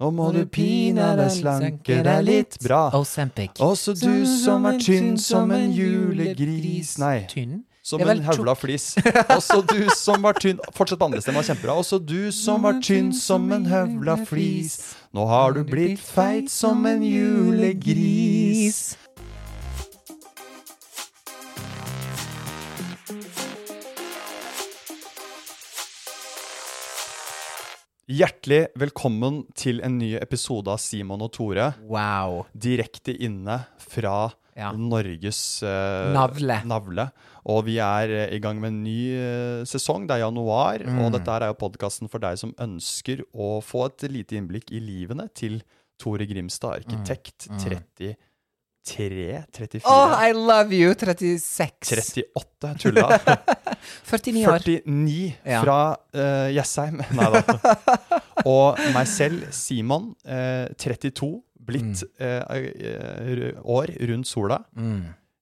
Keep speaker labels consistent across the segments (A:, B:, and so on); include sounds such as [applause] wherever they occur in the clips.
A: Nå må du pinadø slanke deg litt bra.
B: Ozempic.
A: Også du som er tynn som en julegris Nei.
B: Tynn?
A: Som
B: Jeg er
A: en
B: vel
A: høvla
B: tjukk.
A: flis. Også du som var tynn Fortsett på andre stemmen, kjempebra. Også du som var tynn som en høvla flis. Nå har du blitt feit som en julegris. Hjertelig velkommen til en ny episode av Simon og Tore.
B: Wow.
A: Direkte inne fra
B: Ja.
A: Norges eh,
B: Navle.
A: navle. Og vi er eh, i gang med en ny eh, sesong. Det er januar,
B: Mm.
A: og dette her er jo podkasten for deg som ønsker å få et lite innblikk i livene til Tore Grimstad, arkitekt, 33
B: Mm.
A: 34
B: Oh, I love you, 36.
A: 38,
B: [laughs]
A: tulla.
B: 49 år.
A: 49
B: Ja.
A: fra eh, Jessheim. Nei da. [laughs] Og meg selv, Simon, eh, 32, blitt eh, eh, år rundt sola.
B: Mm.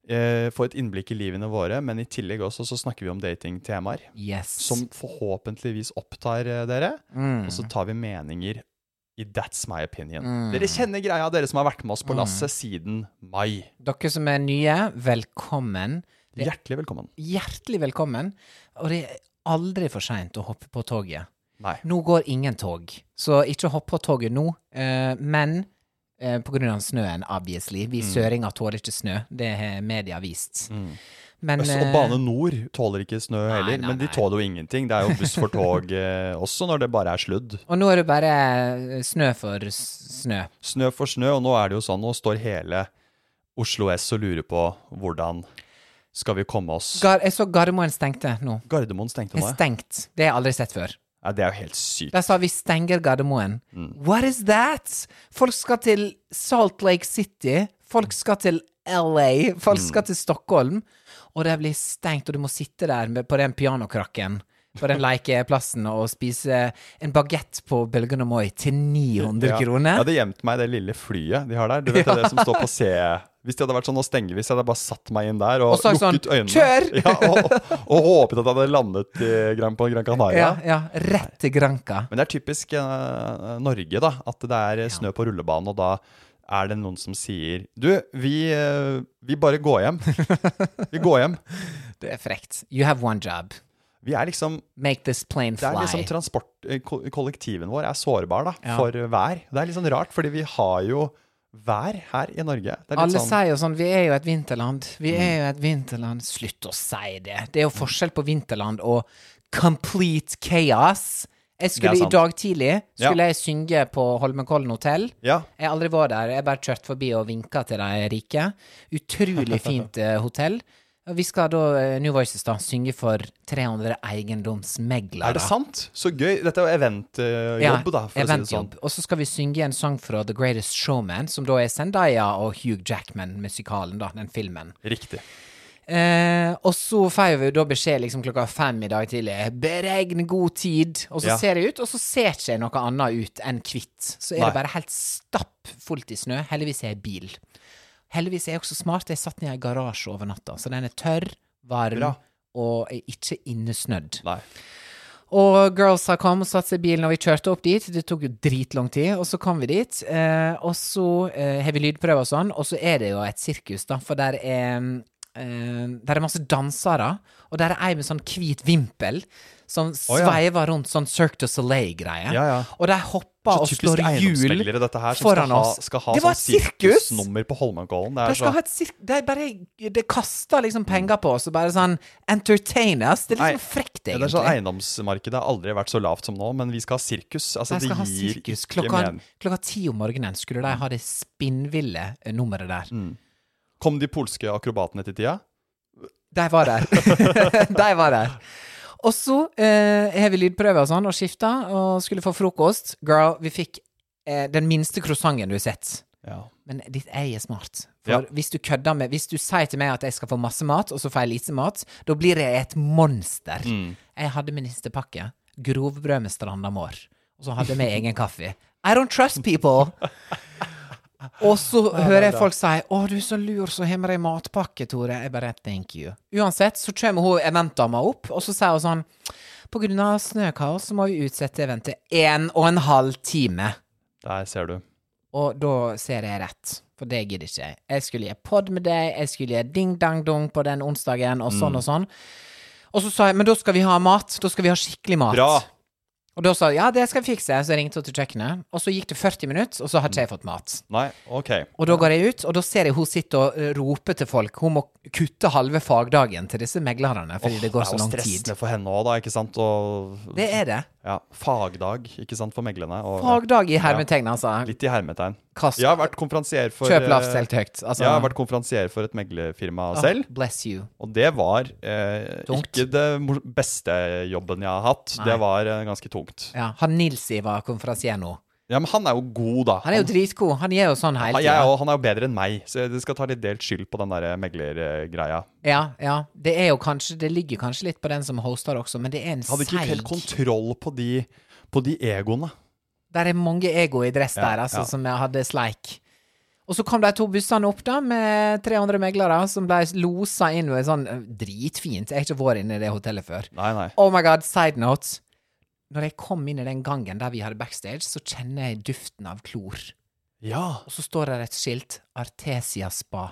A: Eh, Få et innblikk i livene våre, men i tillegg også så snakker vi om datingtemaer.
B: Yes.
A: Som forhåpentligvis opptar eh, dere.
B: Mm.
A: Og så tar vi meninger i That's my opinion.
B: Mm.
A: Dere kjenner greia, dere som har vært med oss på lasset siden mai.
B: Dere som er nye, velkommen. Det er
A: Hjertelig velkommen.
B: hjertelig velkommen. Og det er aldri for seint å hoppe på toget.
A: Nei.
B: Nå går ingen tog, så ikke hopp på toget nå. eh, men eh, på grunn av snøen, obviously. Vi søringer tåler ikke snø. Det har media vist.
A: Mm.
B: Men
A: Øst-
B: eh,
A: Og Bane Nor tåler ikke snø heller,
B: nei,
A: men de
B: nei.
A: tåler jo ingenting. Det er
B: [laughs]
A: jo buss for tog eh, også når det bare er sludd.
B: Og nå er det bare eh, snø for s- snø.
A: Snø for snø, og nå er det jo sånn, nå står hele Oslo S og lurer på hvordan skal vi komme oss
B: Gar jeg så Gardermoen stengte nå.
A: Gardermoen stengte
B: Det
A: nå,
B: er
A: ja.
B: stengt. Det har jeg aldri sett før.
A: ja. Det er jo helt sykt.
B: De sa vi stenger Gardermoen.
A: Mm.
B: What is that? Folk skal til Salt Lake City. Folk skal til LA. Folk
A: Mm.
B: skal til Stockholm. Og det blir stengt, og du må sitte der med, på den pianokrakken på den lekeplassen og spise en bagett på Bølgen og Moi til 900
A: Ja. Jeg
B: kroner.
A: hadde gjemt meg i det lille flyet de har der. Du vet det som står på C Hvis det hadde vært sånn, nå stenger vi, så hadde jeg bare satt meg inn der og,
B: Og sagt sånn,
A: lukket øynene.
B: «Kjør!»
A: [laughs] Ja, og, og håpet at jeg hadde landet i, Gran- på Gran Canaria.
B: Ja, ja, rett til Granca.
A: Men det er typisk eh, Norge, da. At det er snø på rullebanen, og da er det noen som sier Du, vi, eh, vi bare går hjem. [laughs] Vi går hjem.
B: Det er frekt. You have one job.
A: Vi er liksom
B: Make this plane
A: det er
B: fly.
A: liksom transport, eh, ko- Kollektiven vår er sårbar da,
B: Ja.
A: for vær. Det er litt sånn rart, fordi vi har jo vær her i Norge. Det er litt
B: Alle
A: sånn, Mm.
B: sier jo sånn Vi er jo et vinterland. Vi er jo et vinterland. Slutt å si det. Det er jo forskjell på vinterland og complete chaos. Jeg skulle i
A: sant.
B: dag tidlig
A: Ja.
B: Skulle jeg synge på Holmenkollen hotell.
A: ja,
B: Jeg har aldri vært der. Jeg har bare kjørt forbi og vinka til de rike.
A: [laughs]
B: Utrolig fint eh, hotell. Og Vi skal da, eh, New Voices, da, synge for 300 eiendomsmeglere.
A: er det sant? Så gøy. Dette er jo eventjobb, da, for å si det sånn.
B: eventjobb. Og så skal vi synge en sang fra The Greatest Showman, som da er Zendaya og Hugh Jackman-musikalen, da, den filmen.
A: Riktig.
B: Eh, og så får vi da beskjed liksom klokka fem i dag tidlig. Beregn god tid. Og så
A: Ja.
B: ser jeg ut, og så ser ikke jeg noe annet ut enn hvitt. Så
A: Nei.
B: er det bare helt stappfullt i snø. Heldigvis er jeg i bil. Heldigvis er jeg også smart. Jeg satt ned i garasje over natta, så den er tørr, varm
A: Bra.
B: og er ikke innesnødd.
A: Nei.
B: Og girlsa kom og satte seg i bilen, og vi kjørte opp dit. Det tok jo dritlang tid, og så kom vi dit. Eh, og så eh, har vi lydprøve og sånn, og så er det jo et sirkus, da, for der er eh, der er masse dansere, og der er ei med sånn hvit vimpel som
A: ja.
B: sveiver rundt sånn Cirque du Soleil-greie.
A: Ja, ja.
B: Og de hopper
A: Så
B: og
A: typisk
B: slår hjul
A: eiendomsmeglere, dette her, som
B: foran
A: skal ha,
B: oss.
A: skal ha
B: det var
A: sånn
B: sirkus!
A: sirkusnummer på Holmenkollen. Det
B: De
A: er
B: skal
A: så
B: ha et sirk... De bare De kaster liksom penger på oss og bare sånn Entertain us! Det er
A: Nei,
B: liksom frekt,
A: Ja,
B: egentlig.
A: Det er sånn Eiendomsmarkedet har aldri vært så lavt som nå, men vi skal ha sirkus. Altså,
B: De skal ha
A: det gir
B: sirkus.
A: ikke
B: Klokka,
A: men-
B: klokka ti om morgenen skulle de ha det spinnville eh, nummeret der.
A: Mm. Kom de polske akrobatene til tida? [laughs]
B: De var der. de var der. Og så eh, har vi lydprøve og sånn, og skifta, og skulle få frokost. Girl, vi fikk eh, den minste croissanten du har sett.
A: Ja.
B: Men ditt jeg er smart.
A: Ja.
B: For hvis du kødder med Hvis du sier til meg at jeg skal få masse mat, og så får jeg lite mat, da blir jeg et monster. Jeg hadde ministerpakke. Grovbrød med strandamår. Og så hadde jeg med egen kaffe. I don't trust people! Og så hører jeg folk si 'Å, du er så lur som har med deg matpakke, Tore'. Jeg bare 'thank you'. Uansett så kommer hun eventdama opp, og så sier hun sånn 'På grunn av snøkaos så må vi utsette eventet en og en halv time'.
A: Der ser du.
B: Og da ser jeg rett, for det gidder ikke jeg. Jeg skulle gjøre pod med deg, jeg skulle gjøre ding-dang-dong på den onsdagen, og
A: Mm.
B: sånn og sånn. Og så sa jeg, men da skal vi ha mat, da skal vi ha skikkelig mat.
A: Bra!
B: Og da sa jeg, ja, det skal vi fikse, så jeg ringte hun til kjøkkenet, og så gikk det 40 minutter, og så har ikke jeg fått mat.
A: Nei, OK.
B: Og da går jeg ut, og da ser jeg hun sitter og eh, roper til folk, hun må kutte halve fagdagen til disse meglerne, fordi det går så lang
A: Det er jo
B: tid.
A: stressende for henne òg, da, ikke sant? Og
B: Det er det.
A: ja, fagdag, ikke sant, for meglerne. Og,
B: Fagdag i hermetegn,
A: Ja,
B: altså.
A: litt i hermetegn.
B: Kast-
A: Jeg har vært konferansier for
B: Kjøp lavt,
A: eh,
B: selg høyt. Altså,
A: Jeg har vært konferansier for et meglerfirma selv.
B: Bless you.
A: Og det var eh,
B: Tungt.
A: ikke det mor- beste jobben jeg har hatt. Det var eh, ganske tungt.
B: Ja, han Nilsi var konferansier nå.
A: Ja, Men han er jo god, da.
B: Han er jo dritgod. Han gjør jo sånn hele
A: Han- jeg, er
B: tida.
A: jo- han er jo bedre enn meg, så jeg skal ta litt delt skyld på den der meglergreia.
B: Ja, ja. Det er jo kanskje Det ligger kanskje litt på den som hoster også, men det er en
A: Hadde ikke helt
B: seig
A: kontroll på de, på de egoene.
B: Der er mange ego i dress der, altså,
A: ja.
B: som jeg hadde sleik. Og så kom de to bussene opp, da, med 300 meglere som ble losa inn i sånn eh, Dritfint. Jeg har ikke vært inne i det hotellet før.
A: Nei, nei.
B: Oh my god, side note. Når jeg kom inn i den gangen der vi hadde backstage, så kjenner jeg duften av klor.
A: Ja.
B: Og så står der et skilt Artesia Spa.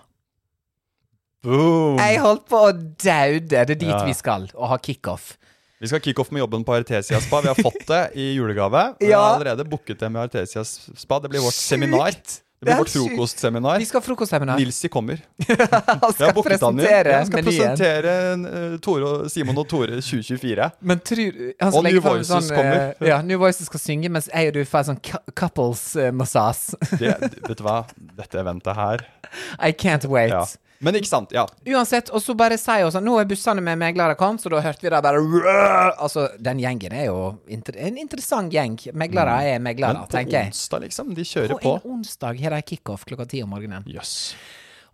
A: Boom!
B: Jeg holdt på å daude. Det er dit
A: Ja.
B: vi skal, og ha kickoff.
A: Vi skal kickoff med jobben på Artesia Spa. Vi har fått det i
B: [laughs]
A: julegave. Vi
B: Ja.
A: har allerede booket det med Artesia Spa. Det blir vårt
B: Sjukt!
A: seminar. Det
B: Det
A: blir
B: er
A: vårt
B: sjukt.
A: frokostseminar.
B: Vi skal ha frokostseminar.
A: Nilsi kommer.
B: [laughs] Han
A: Jeg
B: skal
A: har booket han inn.
B: presentere
A: Jeg skal
B: menyen.
A: presentere eh, Tore og Simon og Tore 2024.
B: Men tror han skal
A: Og
B: legge
A: New
B: fram
A: Voices
B: sånn, eh,
A: kommer.
B: Ja, New Voices skal synge, mens jeg og du får sånn couples-massas.
A: Det, vet du hva? Dette eventet her
B: [laughs] I can't wait.
A: ja. Men ikke sant? Ja.
B: Uansett, og så bare sier hun sånn Nå er bussene med meglere kommet, så da hørte vi det bare «Rrrr!» Altså, den gjengen er jo inter en interessant gjeng. Meglere er meglere,
A: Mm. Men på
B: tenker jeg.
A: onsdag, liksom. De kjører
B: På
A: på.
B: en onsdag har de kickoff klokka ti om morgenen.
A: Jøss.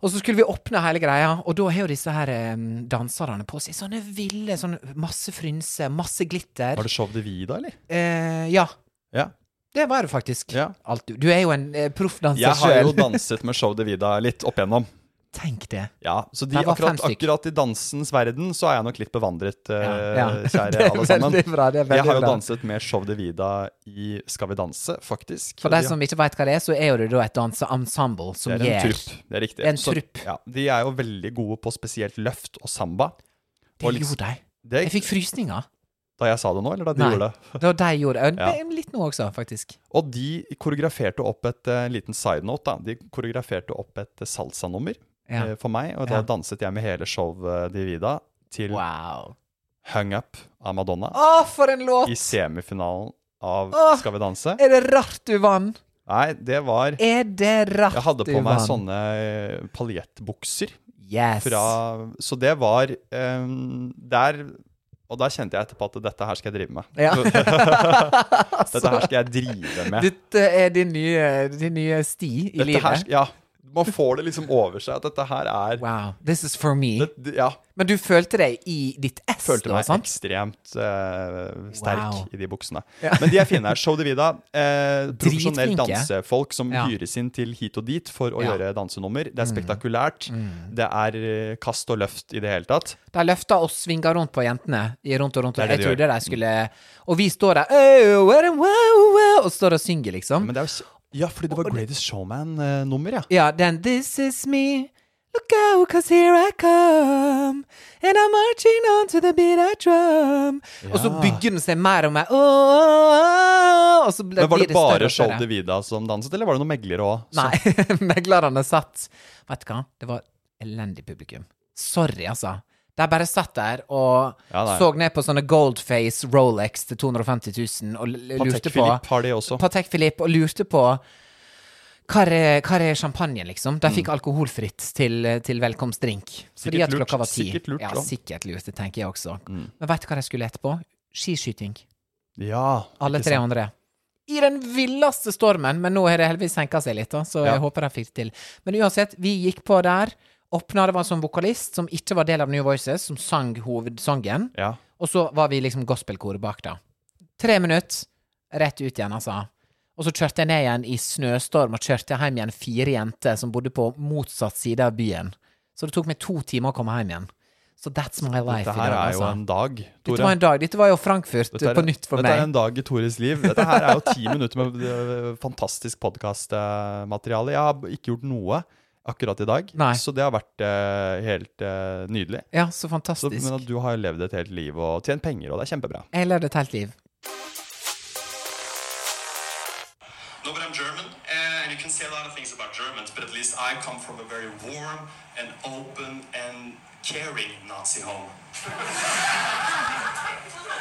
B: Og så skulle vi åpne hele greia, og da har jo disse her eh, danserne på seg sånne ville sånne Masse frynser, masse glitter.
A: Var det show de vi, da, eller?
B: Eh, ja,
A: Ja.
B: det var det faktisk.
A: Ja.
B: Alt du, du er jo en eh, proffdanser
A: Jeg har jo
B: sjøl.
A: danset med show de Vida litt opp igjennom.
B: Tenk det.
A: Ja, så de,
B: Jeg var fem
A: akkurat,
B: stykk.
A: akkurat i dansens verden så er jeg nok litt bevandret, eh,
B: ja. [laughs] Det
A: kjære
B: er
A: alle sammen.
B: veldig bra, det er veldig
A: jeg har jo
B: bra.
A: danset med Show de Vida i Skal vi danse, faktisk.
B: For
A: Og
B: de
A: de-
B: som ikke veit hva det er, så er jo det da et danseensemble som
A: det er en
B: gjør
A: trupp. Det er riktig.
B: En
A: Så-
B: trupp.
A: Ja, de er jo veldig gode på spesielt løft og samba.
B: Det
A: Og liksom-
B: gjorde de.
A: Det,
B: Jeg fikk frysninger.
A: Da jeg sa det nå, eller da de
B: Nei.
A: gjorde det?
B: Det var de gjorde. Og
A: Ja.
B: det er Litt nå også, faktisk.
A: Og de koreograferte opp et eh, en liten side note, da. De koreograferte opp et eh, salsanummer
B: Ja.
A: eh, for meg, og da
B: Ja.
A: danset jeg med hele show eh, de Vida til
B: Wow.
A: Hung Up av Madonna
B: Å, for en låt!
A: i semifinalen av
B: Åh!
A: Skal vi danse.
B: Er det rart du vant?
A: Nei, det var
B: Er det rart du
A: Jeg
B: vant?
A: hadde på meg sånne eh, paljettbukser
B: yes.
A: fra Så det var eh, Der Og der kjente jeg etterpå at dette her skal jeg drive med. [laughs]
B: Ja. [laughs]
A: Dette her skal jeg drive med.
B: Dette er din nye, din nye sti i
A: Dette
B: livet.
A: her, sk- ja. Man får det liksom over seg at dette her er
B: Wow, this is for me.
A: det, det- Ja.
B: Men du følte deg i ditt ess,
A: Følte
B: da,
A: meg
B: sant?
A: ekstremt eh, sterk
B: Wow.
A: i de buksene. Men de er fine. Show de Vida. Uh, profesjonelle
B: [laughs] Dritflinke.
A: dansefolk som
B: Ja.
A: hyres inn til hit og dit for å
B: Ja. Mm.
A: gjøre dansenummer. Det er spektakulært. Det er eh, kast og løft i det hele tatt.
B: De løfta og svinga rundt på jentene. I rundt og rundt.
A: Det er det
B: Og jeg
A: de
B: trodde
A: gjør.
B: de skulle Og vi står der «Øy, oh, what a wow, wow», og står og synger, liksom.
A: Men det er jo s- Ja, fordi det var Greatest Showman-nummer, ja.
B: Ja, den This is me. Look out, cause here I come. And I'm marching on to the beat I drum. Og så bygger den seg mer og mer. «Åh, åh, åh», og så ble,
A: Men Var
B: blir
A: det bare
B: større og
A: Show
B: større.
A: de Vida som danset, eller var det noen meglere òg?
B: Nei, [laughs] meglerne satt Vet du hva, det var elendig publikum. Sorry, altså. De bare satt der og
A: Ja, nei.
B: så ned på sånne Goldface Rolex til 250 000 og l- l- lurte
A: Patek
B: på
A: Philippe har de også.
B: Patek Philippe og lurte på Hva er, hva er champagnen, liksom? De fikk alkoholfritt til, til velkomstdrink.
A: Mm.
B: Fordi
A: Sikkert
B: at klokka
A: lurt.
B: var ti.
A: Sikkert lurt,
B: ja,
A: da. Mm.
B: sikkert lurt. Det tenker jeg også. Men veit du hva de skulle etterpå? Skiskyting.
A: Ja.
B: Alle
A: ikke
B: tre
A: sant.
B: andre. I den villeste stormen, men nå har det heldigvis senka seg litt, da, så
A: Ja.
B: jeg håper de fikk det til. Men uansett, vi gikk på der. Åpna det var en sånn vokalist som ikke var del av New Voices, som sang hovedsangen.
A: Ja.
B: Og så var vi liksom gospelkoret bak, da. Tre minutter, rett ut igjen, altså. Og så kjørte jeg ned igjen i snøstorm og kjørte hjem igjen fire jenter som bodde på motsatt side av byen. Så det tok meg to timer å komme hjem igjen. Så that's my life
A: Dette
B: i
A: her
B: dag,
A: er jo
B: altså.
A: en dag,
B: Dette var
A: Tore.
B: en dag. Dette var jo Frankfurt
A: Dette er-
B: på nytt for
A: Dette er
B: meg.
A: en dag i Tores liv. Dette her er jo ti minutter med eh, fantastisk podkastmateriale. Jeg har ikke gjort noe akkurat i dag,
B: Nei.
A: så det har vært eh, helt eh, nydelig.
B: Ja, så
A: Så,
B: fantastisk.
A: men at du har levd et helt liv og tjent penger, og det er kjempebra.
B: Jeg levde et helt liv.
C: No, but I'm German, uh, and you can say a lot of things about Germans, but at least I come from a very warm and open and caring Nazi home.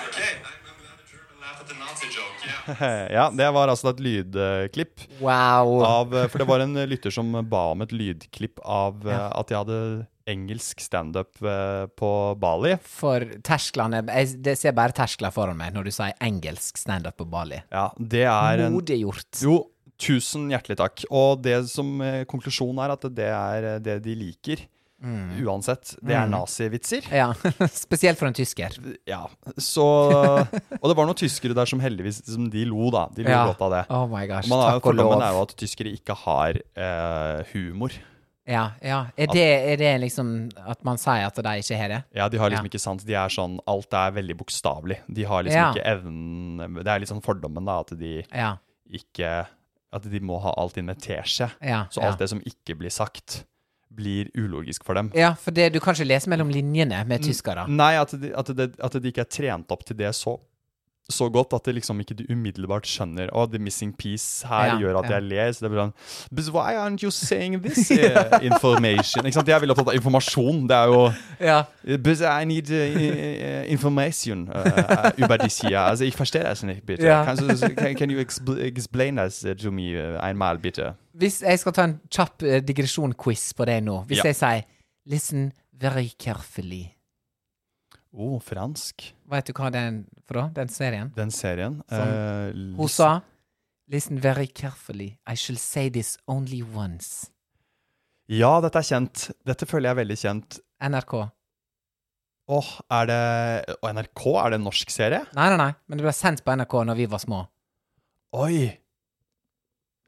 C: okay, I'm glad a German laughed at the Nazi joke, yeah.
A: Ja, det var altså et lydklipp
B: Wow.
A: av eh, For det var en eh, lytter som ba om et lydklipp av eh, at jeg hadde engelsk standup eh, på Bali.
B: For tersklene jeg, Det ser bare terskler foran meg når du sier engelsk standup på Bali.
A: Ja, det er en
B: Modig gjort.
A: Jo, tusen hjertelig takk. Og det som eh, konklusjonen er at det er eh, det de liker.
B: Mm.
A: Uansett. Det er nazivitser.
B: Ja. [laughs] Spesielt for en tysker.
A: Ja.
B: [laughs]
A: Så Og det var noen tyskere der som heldigvis som de lo, da. De lo
B: Ja.
A: godt av det.
B: Oh my gosh.
A: Og Man har jo
B: takk og lov.
A: fordommen er jo at tyskere ikke har eh, humor.
B: Ja, ja. Er, det, er det liksom at man sier at de ikke har det?
A: Ja, De har liksom
B: Ja.
A: ikke sans. De er sånn Alt er veldig bokstavelig. De har liksom
B: Ja.
A: ikke evnen Det er litt sånn fordommen, da, at de
B: Ja.
A: ikke At de må ha alt inn med teskje.
B: Ja,
A: Så alt
B: ja.
A: det som ikke blir sagt, blir ulogisk for dem.
B: ja for det, du kan ikke lese mellom linjene
A: Mm.
B: med tyskere.
A: Nei, at de, at, det, at de ikke er trent opp til det så, så godt at det liksom ikke du umiddelbart skjønner Å, the missing piece her
B: Ja,
A: gjør at
B: ja.
A: jeg ler. Så det blir sånn But why aren't you saying
B: [laughs]
A: this eh, information? ikke sant? Jeg er veldig opptatt av informasjon. Det er jo
B: Ja.
A: But I need eh, information eh, über this here. Altså, ich verstehe das nicht, bitte.
B: Ja.
A: Kannst du- can, can you expl explain this to me eh, einmal, bitte?
B: Hvis jeg skal ta en kjapp eh, digresjon-quiz på deg nå Hvis
A: Ja.
B: jeg sier 'listen very carefully',
A: Å, fransk.
B: vet du hva den for da? Den serien?
A: Den serien. eh,
B: Hun sa Listen very carefully. I shall say this only once.
A: Ja, dette er kjent. Dette føler jeg er veldig kjent.
B: NRK.
A: Åh, er det og NRK? Er det en norsk serie?
B: Nei, nei, nei, men det ble sendt på NRK når vi var små.
A: Oi!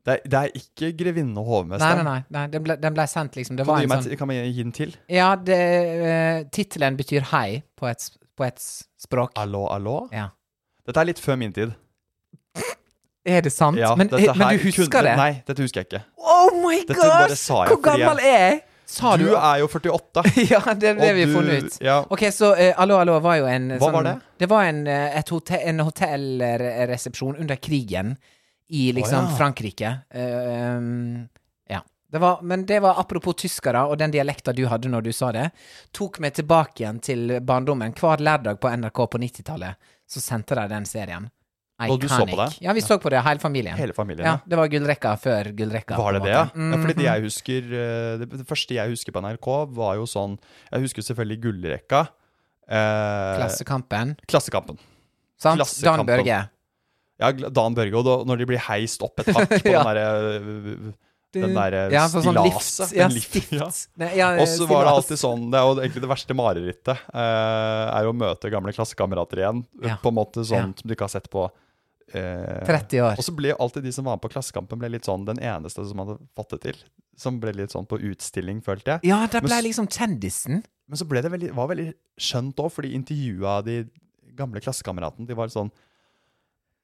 A: Det er, det er ikke 'Grevinne og
B: Nei, nei,
A: hovmesteren'.
B: nei, nei den, ble, den ble sendt liksom Det
A: Kan
B: var
A: du gi
B: en
A: meg
B: sånn
A: et- kan man gi hint til?
B: Ja, det, eh, tittelen betyr hei på et, s- på et s- språk.
A: Allo, allo?
B: Ja.
A: Dette er litt før min tid.
B: Er det sant?
A: Ja,
B: men,
A: dette
B: eh, men
A: her
B: du husker
A: kunne-
B: det?
A: Nei, dette husker jeg ikke.
B: Oh my
A: Dette bare
B: gosh!
A: sa jeg
B: Hvor
A: fordi jeg-
B: gammel er jeg? Sa du
A: Du er jo 48.
B: [laughs] Ja, det er det
A: Og
B: vi har
A: du-
B: funnet ut.
A: ja.
B: Ok, så eh, Allo Allo var jo en eh,
A: Hva
B: sånn
A: var det?
B: Det var en, eh, et hotell, en hotellresepsjon under krigen i liksom
A: Å, ja.
B: Frankrike. Eh, um, ja. Det var, men det var apropos tyskere og den dialekta du hadde når du sa det, tok meg tilbake igjen til barndommen. Hver lørdag på NRK på 90-tallet så sendte de den serien.
A: Og du så på det?
B: Ja, vi så på det, hele familien.
A: Hele familien.
B: ja,
A: Ja.
B: Det var gullrekka før gullrekka.
A: Var det det,
B: på en
A: ja?
B: måte. Mm-hmm.
A: ja fordi det, jeg husker, eh, det, det første jeg husker på NRK, var jo sånn Jeg husker selvfølgelig Gullrekka. Eh,
B: Mm-hmm. Klassekampen.
A: Klassekampen.
B: Sant? Dan
A: Klassekampen.
B: Børge.
A: Ja, gl- Dan Børge, og da, når de blir heist opp et hakk på
B: [laughs] Ja.
A: den derre Den derre
B: ja, for sånn
A: stillaset.
B: lift. Ja,
A: den lift-
B: stift.
A: ja.
B: Nei, ja,
A: Og så var det
B: stillas.
A: alltid sånn Det er jo egentlig det verste marerittet. eh, er jo å møte gamle klassekamerater igjen.
B: Ja.
A: På en måte sånn
B: Ja.
A: som du ikke har sett på eh,
B: 30 år.
A: Og så ble jo alltid de som var med på Klassekampen, ble litt sånn den eneste som hadde fått det til. Som ble litt sånn på utstilling, følte jeg.
B: Ja, da
A: Men
B: ble
A: s-
B: jeg liksom kjendisen.
A: Men så ble det veldig, var veldig skjønt òg, fordi intervjua de gamle klassekameratene De var sånn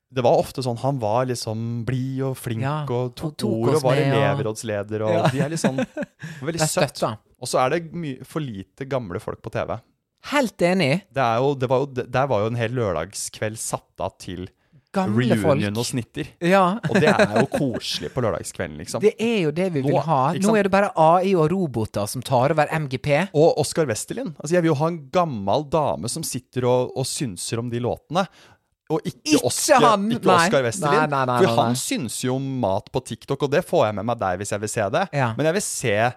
A: Det var ofte sånn Han var liksom blid og flink
B: Ja,
A: og tok,
B: og tok
A: ord
B: oss
A: og var
B: med, ja.
A: elevrådsleder, og
B: Ja.
A: de er litt
B: [laughs]
A: sånn Veldig
B: De
A: søtt.
B: støtta.
A: Og så er det my for lite gamle folk på TV.
B: Helt enig.
A: Det er jo, det var jo, det- der var jo en hel lørdagskveld satt av til
B: Gamle
A: reunion
B: folk.
A: og snitter.
B: Ja.
A: Og det er jo koselig på lørdagskvelden, liksom.
B: Det er jo det vi vil
A: Nå-
B: ha.
A: ikke
B: Nå
A: sant?
B: er det bare AI og roboter som tar over MGP.
A: Og Oskar Westerlin. Altså, jeg vil jo ha en gammel dame som sitter og, og synser om de låtene. Og ikke,
B: Ikke
A: Oscar,
B: han,
A: ikke
B: nei.
A: Oscar Westerlin.
B: Nei, nei, nei,
A: for
B: nei, nei.
A: han syns jo om mat på TikTok, og det får jeg med meg der hvis jeg vil se det.
B: Ja.
A: Men jeg vil se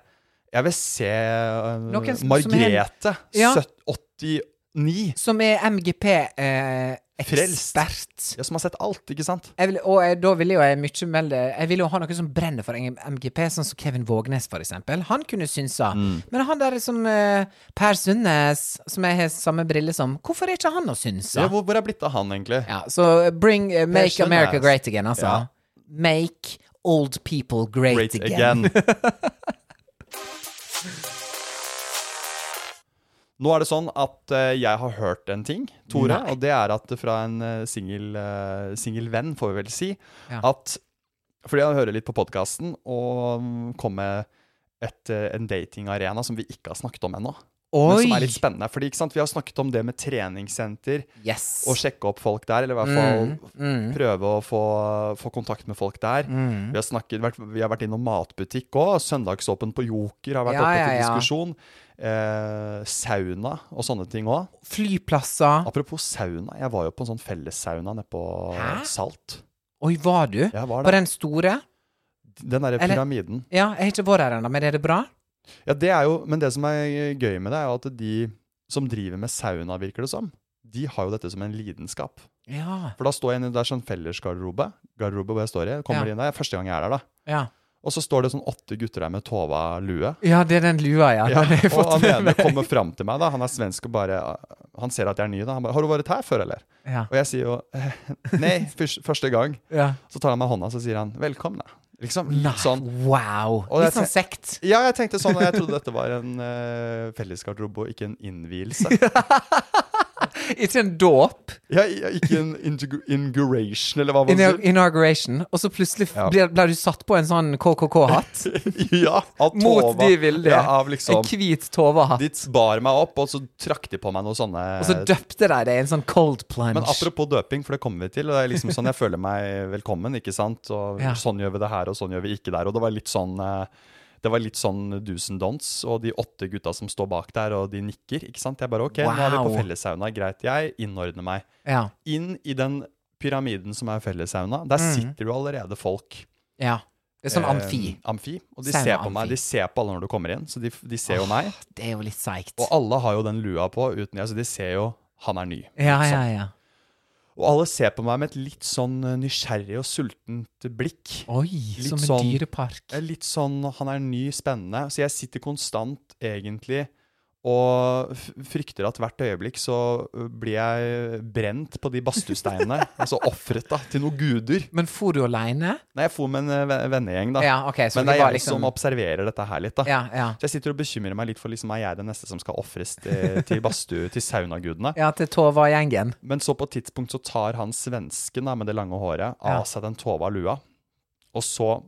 A: Jeg vil se øh,
B: Noen som-
A: Margrethe,
B: som er- Ja.
A: søtt- 89,
B: Som er eh, MGP-ekspert.
A: ja, som har sett alt, ikke sant?
B: jeg vil, og jeg, da ville jo jeg mye melde Jeg ville jo ha noe som brenner for en MGP, sånn som Kevin Vågnes, for eksempel. Han kunne synsa. Men han der som eh, Per Sundnes, som jeg har samme brille som, hvorfor er ikke han å synse?
A: Ja, hvor, hvor er blitt av han, egentlig?
B: Ja, så bring eh, Make
A: Sundnes.
B: America great again, altså.
A: Ja.
B: Make old people great,
A: Great
B: again.
A: again.
B: [laughs]
A: Nå er det sånn at eh, jeg har hørt en ting, Tore,
B: Nei.
A: og det er at fra en eh, singel eh, singel venn, får vi vel si,
B: Ja.
A: at Fordi han hører litt på podkasten og mm, kom med et, eh, en datingarena som vi ikke har snakket om ennå. Men som er
B: Oi!
A: litt spennende. Fordi ikke sant, vi har snakket om det med treningssenter,
B: Yes.
A: å sjekke opp folk der, eller
B: Mm,
A: i hvert fall prøve å få, få kontakt med folk der.
B: Mm.
A: Vi, har snakket, vært, vi har vært innom matbutikk òg. Søndagsåpen på Joker har vært
B: Ja,
A: oppe
B: ja,
A: til
B: ja.
A: diskusjon. Eh, sauna og sånne ting òg.
B: Flyplasser.
A: Apropos sauna, jeg var jo på en sånn fellessauna nede på
B: Hæ?
A: Salt.
B: Oi, var du?
A: Jeg var
B: På
A: der.
B: den store?
A: Den derre
B: Eller-
A: pyramiden.
B: Ja, jeg har ikke vært her ennå, men er det bra?
A: Ja, det er jo, men det som er gøy med det, er jo at de som driver med sauna, virker det som, de har jo dette som en lidenskap.
B: Ja.
A: For da står jeg inne, det er sånn fellesgarderobe, garderobe hvor jeg står i, kommer
B: Ja.
A: inn der, første gang jeg er der da.
B: Ja,
A: Og så står det sånn åtte gutter der med tova lue.
B: ja det er den lua, ja.
A: Ja,
B: Den [laughs] har
A: [laughs]
B: jeg
A: og
B: fått
A: han
B: med
A: ene
B: meg.
A: kommer fram til meg, da. Han er svensk og bare Han ser at jeg er ny, da. Han bare 'Har du vært her før, eller?'
B: Ja.
A: Og jeg sier jo [laughs] eh, 'Nei, fyrs- første gang'.
B: Ja.
A: Så tar han meg i hånda, så sier han 'Velkommen', da. Liksom
B: Nei,
A: litt sånn.
B: wow.
A: Og
B: Litt
A: jeg
B: sånn sekt.
A: Ja, jeg tenkte sånn, og jeg trodde dette var en uh, fellesgarderobe og ikke en
B: [laughs]
A: innvielse.
B: Ikke en dåp.
A: Ja, ja, ikke en integ- inauguration, eller hva man
B: Ina
A: sier.
B: inauguration. Og så plutselig
A: Ja.
B: ble, ble du satt på en sånn KKK-hatt.
A: [laughs]
B: [laughs]
A: Ja, av
B: Mot
A: Tova.
B: de vilje.
A: Ja, av liksom
B: En hvit Tova-hatt.
A: De bar meg opp, og så trakk de på meg noen sånne
B: Og så døpte de deg i en sånn cold plunge.
A: Men apropos døping, for det kommer vi til. Og det er liksom sånn Jeg føler meg velkommen, ikke sant? Og
B: Ja.
A: sånn gjør vi det her, og sånn gjør vi ikke der. Og det var litt sånn eh, det var litt sånn do's and don'ts, og de åtte gutta som står bak der, og de nikker. ikke sant? Jeg bare OK, nå er vi
B: Wow.
A: på fellessauna. Greit, jeg innordner meg.
B: ja.
A: Inn i den pyramiden som er fellessauna. Der
B: Mm.
A: sitter jo allerede folk.
B: ja. Det er sånn
A: eh,
B: amfi.
A: amfi. Og de
B: Sauna
A: ser på meg.
B: amfi.
A: De ser på alle når du kommer inn, så de, de ser jo meg.
B: Det er jo litt seigt.
A: Og alle har jo den lua på, uten jeg, så de ser jo han er ny.
B: Ja, ja, ja.
A: Og alle ser på meg med et litt sånn eh, nysgjerrig og sultent blikk.
B: Oi,
A: Litt
B: som en
A: sånn-
B: dyrepark.
A: Det er Litt sånn han er ny, spennende. Så jeg sitter konstant egentlig og f- frykter at hvert øyeblikk så eh, blir jeg brent på de
B: [laughs]
A: badstuesteinene. altså ofret da, til noen guder.
B: Men for du aleine?
A: Nei, jeg for med en eh, ve- vennegjeng, da.
B: Ja, ok, så
A: Men
B: det
A: det er
B: var
A: jeg
B: liksom-
A: som observerer dette her litt, da.
B: Ja, ja.
A: Så jeg sitter og bekymrer meg litt for liksom, er jeg den neste som skal ofres til, til badstue, til saunagudene?
B: Ja, til Tova-gjengen.
A: Men så på et tidspunkt så tar han svensken da, med det lange håret av
B: Ja.
A: seg den tova lua, og så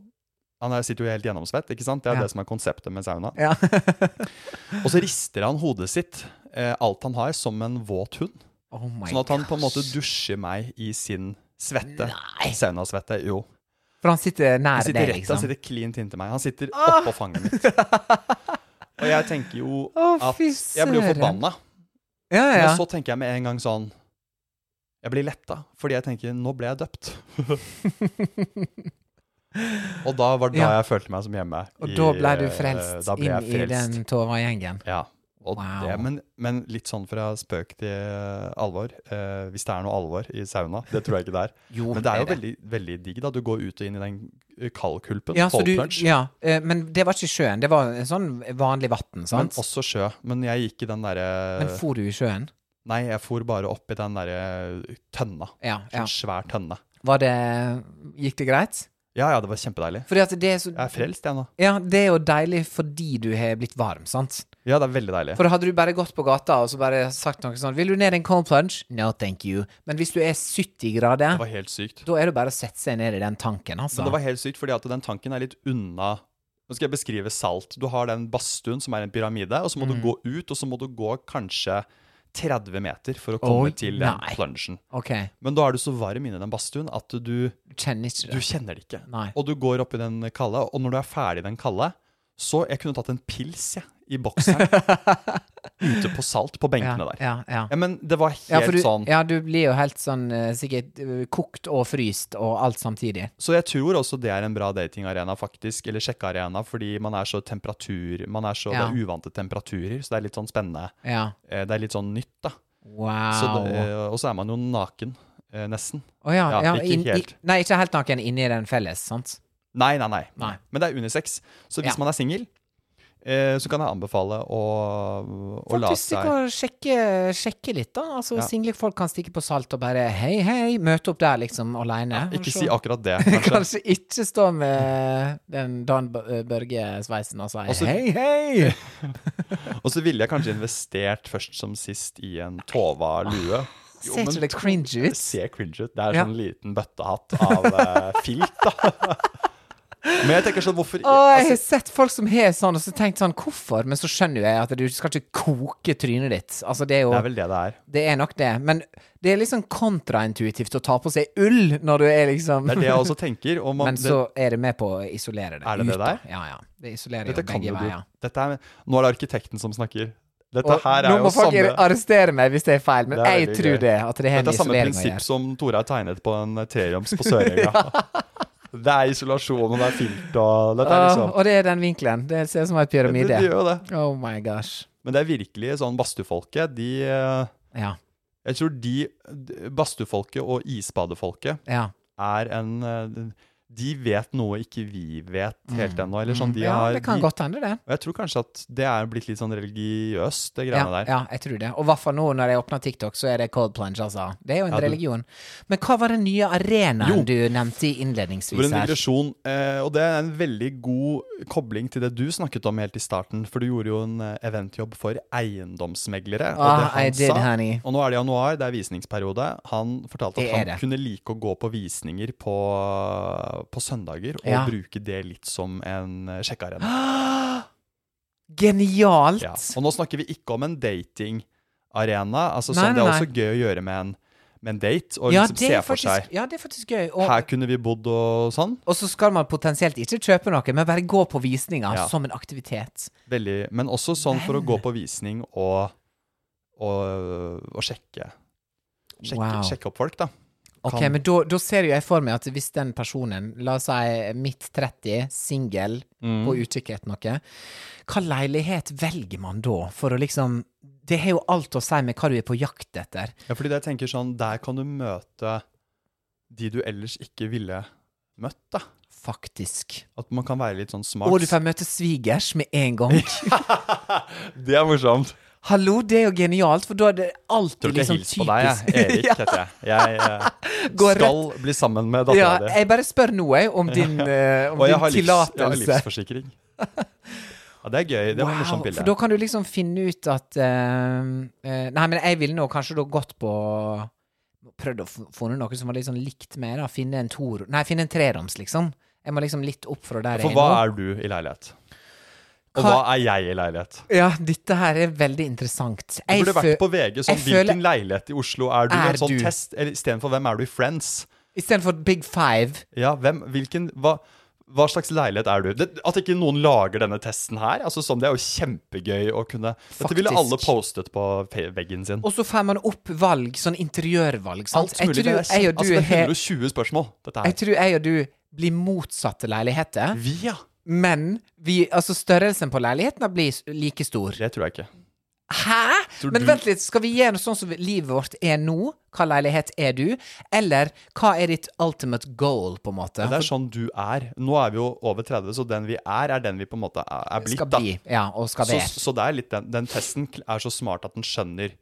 A: Han er- sitter jo helt gjennomsvett, ikke sant? Det er
B: Ja.
A: det som er konseptet med sauna.
B: Ja. [laughs]
A: Og så rister han hodet sitt, eh, alt han har, som en våt hund.
B: Oh my
A: Sånn at han på en måte
B: gosh.
A: dusjer meg i sin svette.
B: Nei.
A: Saunasvette. Jo.
B: For han sitter nær
A: Han sitter
B: deg,
A: rett, han
B: liksom. Ah!
A: sitter klint inntil meg. Han sitter oppå fanget
B: [laughs]
A: mitt. Og jeg tenker jo
B: Å,
A: at
B: fy
A: Jeg blir jo
B: søren.
A: forbanna.
B: Ja, ja.
A: Men så tenker jeg med en gang sånn Jeg blir letta, fordi jeg tenker nå ble jeg døpt.
B: [laughs]
A: og da var det da
B: Ja.
A: jeg følte meg som hjemme.
B: Og
A: i- eh,
B: da ble du frelst
A: Da ble jeg
B: inn i
A: frelst.
B: den Tova-gjengen.
A: Ja. Og
B: Wow.
A: det, men, men litt sånn fra spøk til eh, alvor. Eh, hvis det er noe alvor i sauna, det tror jeg ikke det er.
B: Jo,
A: men det er jo
B: det er
A: veldig, veldig digg, da. Du går ut og inn i den eh, kaldkulpen.
B: Ja, så
A: cold
B: du,
A: plunge.
B: ja, eh, men det var ikke i sjøen. Det var en sånn vanlig vann,
A: Men
B: sant? Men,
A: også sjø. Men jeg gikk i den derre
B: for du i sjøen?
A: Nei, jeg for bare opp i den derre tønna.
B: Ja, ja.
A: Sånn svær tønne.
B: Var det Gikk det greit?
A: Ja, ja, det var kjempedeilig.
B: Fordi at det er så
A: Jeg er frelst, jeg nå.
B: Ja, det er jo deilig fordi du har blitt varm, sant?
A: Ja, det er veldig deilig.
B: For hadde du bare gått på gata og så bare sagt noe sånn 'Vil du ned i en cold plunge?' No, thank you. Men hvis du er 70 grader,
A: Det var helt sykt.
B: da er det bare å sette seg ned i den tanken, altså.
A: Men det var helt sykt, fordi at den tanken er litt unna Nå skal jeg beskrive salt. Du har den badstuen som er en pyramide, og så må du
B: Mm.
A: gå ut, og så må du gå kanskje 30 meter for å komme
B: Oi,
A: til den
B: nei.
A: plungen.
B: OK,
A: Men da er du så varm inni den badstuen at du,
B: du kjenner ikke
A: du
B: det.
A: kjenner det ikke.
B: Nei.
A: Og du går opp i den kalde, og når du er ferdig i den kalde, så Jeg kunne tatt en pils, jeg, i
B: [laughs]
A: bokseren ute på Salt, på
B: Ja,
A: benkene der.
B: ja, ja.
A: Ja, men det var helt
B: Ja, for du,
A: sånn
B: ja, du blir jo helt sånn eh, sikkert eh, kokt og fryst og alt samtidig.
A: Så jeg tror også det er en bra datingarena, faktisk, eller sjekkearena, fordi man er så temperatur Man er så
B: Ja.
A: Det er uvante temperaturer, så det er litt sånn spennende.
B: Ja.
A: Eh, Det er litt sånn nytt, da. Så
B: Wow.
A: det, eh, og så er man jo naken, eh, nesten.
B: Å ja,
A: ja,
B: ja,
A: ikke
B: inn-
A: helt.
B: I, nei, ikke helt naken inni den felles, sant?
A: Nei, nei, nei.
B: Nei.
A: Men det er unisex. Så hvis
B: Ja.
A: man er singel, eh, så kan jeg anbefale å, å la
B: Faktisk
A: seg
B: stikk og sjekke, sjekke litt, da. Altså,
A: Ja.
B: Single folk kan stikke på salt og bare hei, hei, møte opp der liksom aleine.
A: Ikke si akkurat det, kanskje.
B: Kanskje ikke stå med den Dan B- Børge-sveisen og si
A: Altså-
B: hei, hei!
A: [laughs] Og så ville jeg kanskje investert først som sist i en Tova lue. Jo,
B: Ser
A: men-
B: ikke det cringy ut?
A: ser cringe ut. Det er
B: Ja.
A: sånn liten bøttehatt av
B: [laughs]
A: eh, filt, da. Men jeg tenker sånn, hvorfor
B: Å, jeg har
A: altså,
B: sett folk som har sånn, og så tenkt sånn hvorfor? Men så skjønner jo jeg at du skal ikke koke trynet ditt. Altså, det er jo
A: Det er vel det det er.
B: Det er nok det, men det er liksom kontraintuitivt å ta på seg ull når du er liksom
A: Det er det jeg også tenker. Og man,
B: [laughs] Men så er det med på å isolere det.
A: Er det det
B: ut, da.
A: der?
B: Ja, ja. Det isolerer
A: det, dette
B: jo
A: kan
B: begge
A: jo du.
B: veier.
A: Dette er, nå er det arkitekten som snakker. Dette
B: Og
A: her
B: nå
A: er jo
B: må folk
A: samme
B: arrestere meg hvis det er feil, men
A: Det er
B: jeg
A: veldig
B: tror
A: gøy.
B: det. At det har
A: Dette
B: med
A: er samme
B: isolering å
A: prinsipp
B: gjøre.
A: som Tora har tegnet på en trerioms på
B: [laughs]
A: Sørøya. Det er isolasjon, og det er filt, og dette er
B: Åh,
A: liksom
B: Ah, og det er den vinkelen. Det ser ut som en
A: det, det
B: pyramide.
A: gjør jo det.
B: Oh my gosh.
A: Men det er virkelig sånn badstuefolket. De eh,
B: Ja.
A: Jeg tror de Badstuefolket og isbadefolket
B: Ja.
A: er en eh, De vet noe ikke vi vet helt ennå. Eller sånn, de
B: Mm. ja,
A: har,
B: det kan
A: de,
B: godt hende, det.
A: og jeg tror kanskje at det er blitt litt sånn religiøst, det
B: Ja,
A: greiene der.
B: ja, jeg tror det. Og i hvert fall nå når jeg åpner TikTok, så er det cold plunge, altså. Det er jo en
A: Ja, du-
B: religion. Men hva var den nye arenaen
A: Jo.
B: du nevnte i
A: Det var
B: innledningsvis
A: en
B: her?
A: digresjon, eh, og det er en veldig god kobling til det du snakket om helt i starten. For du gjorde jo en eh, eventjobb for eiendomsmeglere.
B: Ah,
A: han
B: I did, honey.
A: Og nå er det januar, det er visningsperiode. Han fortalte
B: Det
A: at
B: er
A: han
B: det.
A: kunne like å gå på visninger på, på søndager, og
B: Ja.
A: bruke det litt som en eh, sjekkearena.
B: Genialt!
A: Ja. Og nå snakker vi ikke om en datingarena. Altså,
B: Nei,
A: sånn, det er
B: nei,
A: også gøy å gjøre med en, med en date, og
B: Ja,
A: liksom
B: det
A: se
B: er
A: for
B: faktisk,
A: seg
B: ja, det er faktisk gøy.
A: Her
B: Og,
A: kunne vi bodd og sånn.
B: og så skal man potensielt ikke kjøpe noe, men bare gå på visninger
A: Ja.
B: som en aktivitet.
A: Veldig, men også sånn for å gå på visning og, og, og sjekke. Sjekke,
B: Wow.
A: sjekke opp folk, da.
B: Ok,
A: Kan-
B: men da da ser jo jeg for meg at hvis den personen, la oss si midt 30, singel,
A: Mm.
B: på utkikk etter noe, hva leilighet velger man da for å liksom Det har jo alt å si med hva du er på jakt etter.
A: Ja, fordi jeg tenker sånn, der kan du møte de du ellers ikke ville møtt, da.
B: Faktisk.
A: At man kan være litt sånn smart.
B: Og du får møte svigers med en gang.
A: [laughs] det er morsomt.
B: Hallo, det er jo genialt, for da er det alltid
A: Tror ikke
B: liksom
A: jeg hilser
B: typisk
A: på deg, jeg. Erik heter
B: [laughs] Ja.
A: jeg. Jeg eh,
B: [laughs] Går
A: skal bli sammen med
B: Ja,
A: dattera di.
B: jeg bare spør nå, jeg, om din, eh, om
A: Og jeg
B: din
A: har, livs, jeg har
B: tillatelse. [laughs]
A: livsforsikring. Ja, det er gøy. Det var et morsomt
B: for da
A: bilde.
B: kan du liksom finne ut at eh, eh, Nei, men jeg ville nå kanskje da gått på Prøvd å f- finne noe som var litt sånn likt meg, da. Finne en tor... Nei, finne en treroms, liksom. Jeg må liksom litt opp fra der
A: For hva er du i leilighet? Og hva
B: Hva-
A: er jeg i leilighet?
B: Ja, dette her er veldig interessant.
A: Du
B: Jeg
A: burde
B: fø-
A: vært på VG sånn
B: jeg føler-
A: Hvilken leilighet i Oslo er du?
B: Er
A: en sånn
B: du?
A: test, eller Istedenfor Hvem er du i Friends?
B: Istedenfor Big Five.
A: Ja, hvem, hvilken, hva, hva slags leilighet er du? Det, at ikke noen lager denne testen her, altså sånn, det er jo kjempegøy å kunne Dette ville
B: Faktisk.
A: alle postet på pe- veggen sin.
B: Og så får man opp valg, sånn interiørvalg, sant?
A: Alt mulig.
B: jeg tror
A: det, er,
B: jeg
A: kjem-
B: og du
A: altså, det
B: har
A: er 120 spørsmål, dette
B: Jeg
A: her.
B: tror jeg og du blir eh? motsatte leiligheter,
A: Vi, ja.
B: men vi, altså størrelsen på leilighetene blir s- like stor.
A: Det tror jeg ikke.
B: Hæ?!
A: Tror
B: Men
A: du-
B: vent litt, skal vi gjøre noe sånn som livet vårt er nå? Hva leilighet er du? Eller hva er ditt ultimate goal, på en måte?
A: Det er sånn du er. Nå er vi jo over 30, så den vi er, er den vi på en måte er, er blitt,
B: skal
A: da.
B: bli, ja, og skal
A: Så,
B: være.
A: så det er litt den, den testen kl- er så smart at den skjønner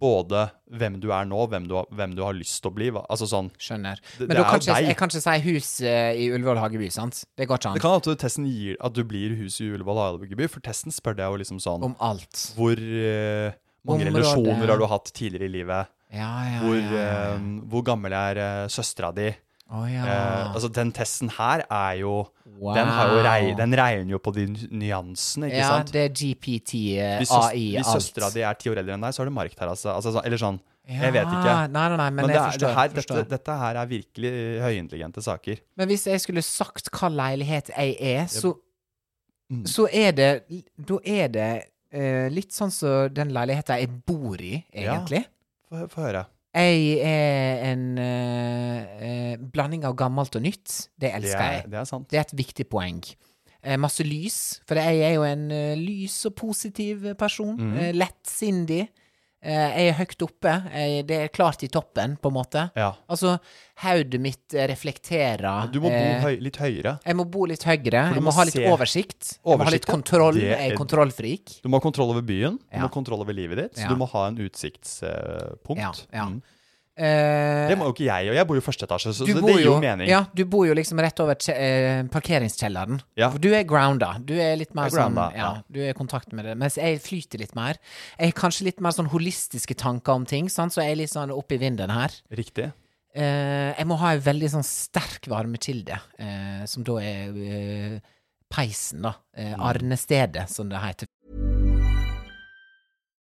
A: både hvem du er nå, hvem du, har- hvem du har lyst til å bli. hva- Altså sånn
B: Skjønner.
A: Det-
B: Men
A: det
B: da
A: er jo
B: kan ikke jeg,
A: deg.
B: jeg kan ikke si hus eh, i Ullevål hageby, sant? Det går ikke
A: Det
B: an.
A: kan hende at testen gir at du blir huset i Ullevål Halebygeby, for testen spør deg jo liksom sånn
B: Om alt.
A: Hvor eh, mange
B: Området.
A: relasjoner har du hatt tidligere i livet?
B: Ja, ja,
A: Hvor,
B: ja.
A: eh, hvor gammel er uh, søstera di?
B: Å ja.
A: Eh, altså, den testen her er jo Den, har jo rei, den regner jo på de nyansene, ikke
B: ja,
A: sant?
B: det er GPT, eh,
A: Hvis, søs-
B: AI,
A: hvis
B: alt.
A: søstera di er ti år eldre enn deg, så har du markterrasse. Altså, sånn- eller sånn. jeg vet ikke.
B: Ja, Nei, nei, nei, men,
A: Men det
B: jeg
A: er,
B: forstår.
A: det her,
B: forstår.
A: dette, dette her er virkelig eh, høyintelligente saker.
B: Men hvis jeg skulle sagt hva leilighet jeg er, så
A: Mm.
B: så er det Da er det eh, litt sånn som den leiligheta jeg bor i, egentlig.
A: Få, få høre.
B: Jeg er en eh, eh, blanding av gammelt og nytt.
A: Det
B: Det elsker
A: er,
B: jeg.
A: det er sant.
B: Det er et viktig poeng. Eh, masse lys, for jeg er jo en eh, lys og positiv person.
A: Mhm.
B: Eh, Lettsindig. Eh, jeg er høyt oppe. Jeg, det er klart i toppen, på en måte.
A: Ja.
B: Altså, hodet mitt eh, reflekterer
A: Du må bo
B: eh,
A: høy, litt høyere.
B: Jeg må bo litt høyere.
A: For du
B: Jeg
A: må
B: må ha litt
A: se-
B: oversikt. Jeg må ha
A: Oversikt,
B: litt
A: ja.
B: kontroll.
A: Det er-
B: Jeg er kontrollfrik.
A: Du må ha kontroll over byen, du
B: Ja.
A: må ha kontroll over livet ditt,
B: Ja.
A: så du må ha en utsiktspunkt.
B: Ja, ja.
A: Mm.
B: Eh,
A: Det må jo ikke jeg, og jeg bor jo i første etasje, så,
B: du
A: så det
B: bor
A: gir jo mening.
B: Ja, du bor jo liksom rett over kje- eh, parkeringskjelleren.
A: Ja.
B: For Du er grounda. Du er litt mer
A: Jeg er grounda,
B: sånn ja,
A: ja.
B: Du er i kontakt med det. Mens jeg flyter litt mer. Jeg har kanskje litt mer sånn holistiske tanker om ting, sant? så jeg er litt sånn opp i vinden her.
A: Riktig.
B: Eh, jeg må ha en veldig sånn sterk varmekilde, eh, som da er eh, peisen, da. Eh,
A: Mm.
B: Arnestedet, som det heter.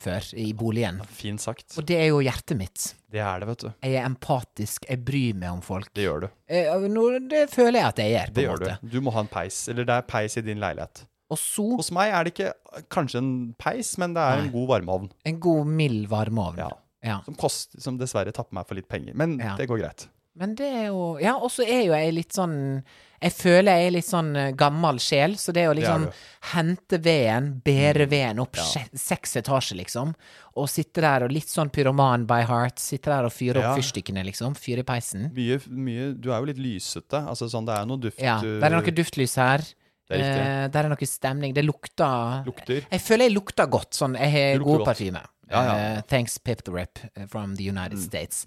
B: før i boligen.
A: Fint sagt.
B: Og det er jo hjertet mitt.
A: Det er det, vet du.
B: Jeg er empatisk, jeg bryr meg om folk.
A: Det gjør du.
B: Eh, nå- det føler jeg at jeg gjør, på
A: Det
B: en
A: gjør du.
B: måte.
A: Du må ha en peis, eller det er peis i din leilighet.
B: Og så
A: Hos meg er det ikke kanskje en peis, men det er en god varmeovn.
B: en god, mild varmeovn.
A: Ja.
B: Ja.
A: Som, kost, som dessverre tapper meg for litt penger, men
B: Ja.
A: det går greit.
B: Men det er jo Ja, og så er jo jeg litt sånn Jeg føler jeg er litt sånn eh, gammel sjel, så det er jo liksom
A: Det er Mm.
B: hente veden, bære veden opp sje- seks etasjer, liksom, og sitte der og litt sånn pyroman by heart, sitte der og fyre
A: Ja.
B: opp fyrstikkene, liksom, fyre i peisen.
A: Mye, mye, du er jo litt lysete, altså sånn, det er noe duft.
B: Ja,
A: du-
B: der er noe duftlys her.
A: eh, Det er riktig.
B: Eh, der er noe stemning. Det lukter
A: Lukter.
B: Jeg føler jeg lukter godt. Sånn, jeg
A: Du lukter
B: har god
A: godt.
B: parfyme.
A: Ja, Mm, ja.
B: Eh, thanks Pip the Rip eh, from the United States.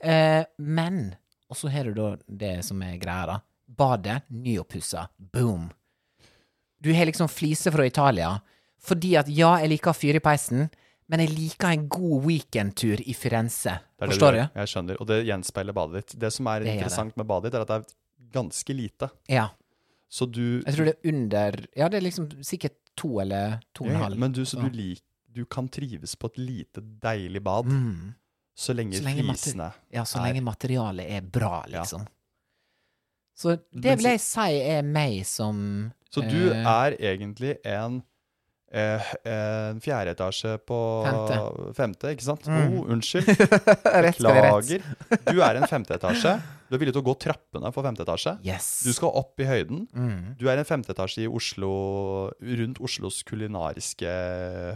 B: Eh, men Og så har du da det som er greia, da. Badet, nyoppussa. Boom. Du har liksom fliser fra Italia. Fordi at ja, jeg liker å fyre i peisen, men jeg liker en god weekendtur i Firenze.
A: Det er det du?
B: Forstår du?
A: gjør. Jeg skjønner. Og det gjenspeiler badet ditt. Det som er
B: Det gjør det.
A: interessant med badet ditt, er at det er ganske lite.
B: Ja.
A: Så du
B: Jeg tror det er under Ja, det er liksom sikkert to eller to og en
A: Ja,
B: halv.
A: Men du, så
B: Ja.
A: du, lik, du kan trives på et lite, deilig bad
B: Mm.
A: så lenge,
B: Så lenge mater-
A: flisene
B: Ja, så
A: er-
B: lenge materialet er bra,
A: Ja.
B: liksom. Så det
A: Men
B: vil jeg si er meg som
A: Så du
B: eh,
A: er egentlig en eh, en fjerde etasje på femte,
B: Femte.
A: ikke sant?
B: Mm.
A: Oh,
B: [laughs]
A: unnskyld.
B: Rett skal være rett.
A: Beklager. Du er en femte etasje. Du er villig til å gå trappene for femte etasje.
B: Yes.
A: Du skal opp i høyden.
B: mm.
A: Du er en femte etasje i Oslo, rundt Oslos kulinariske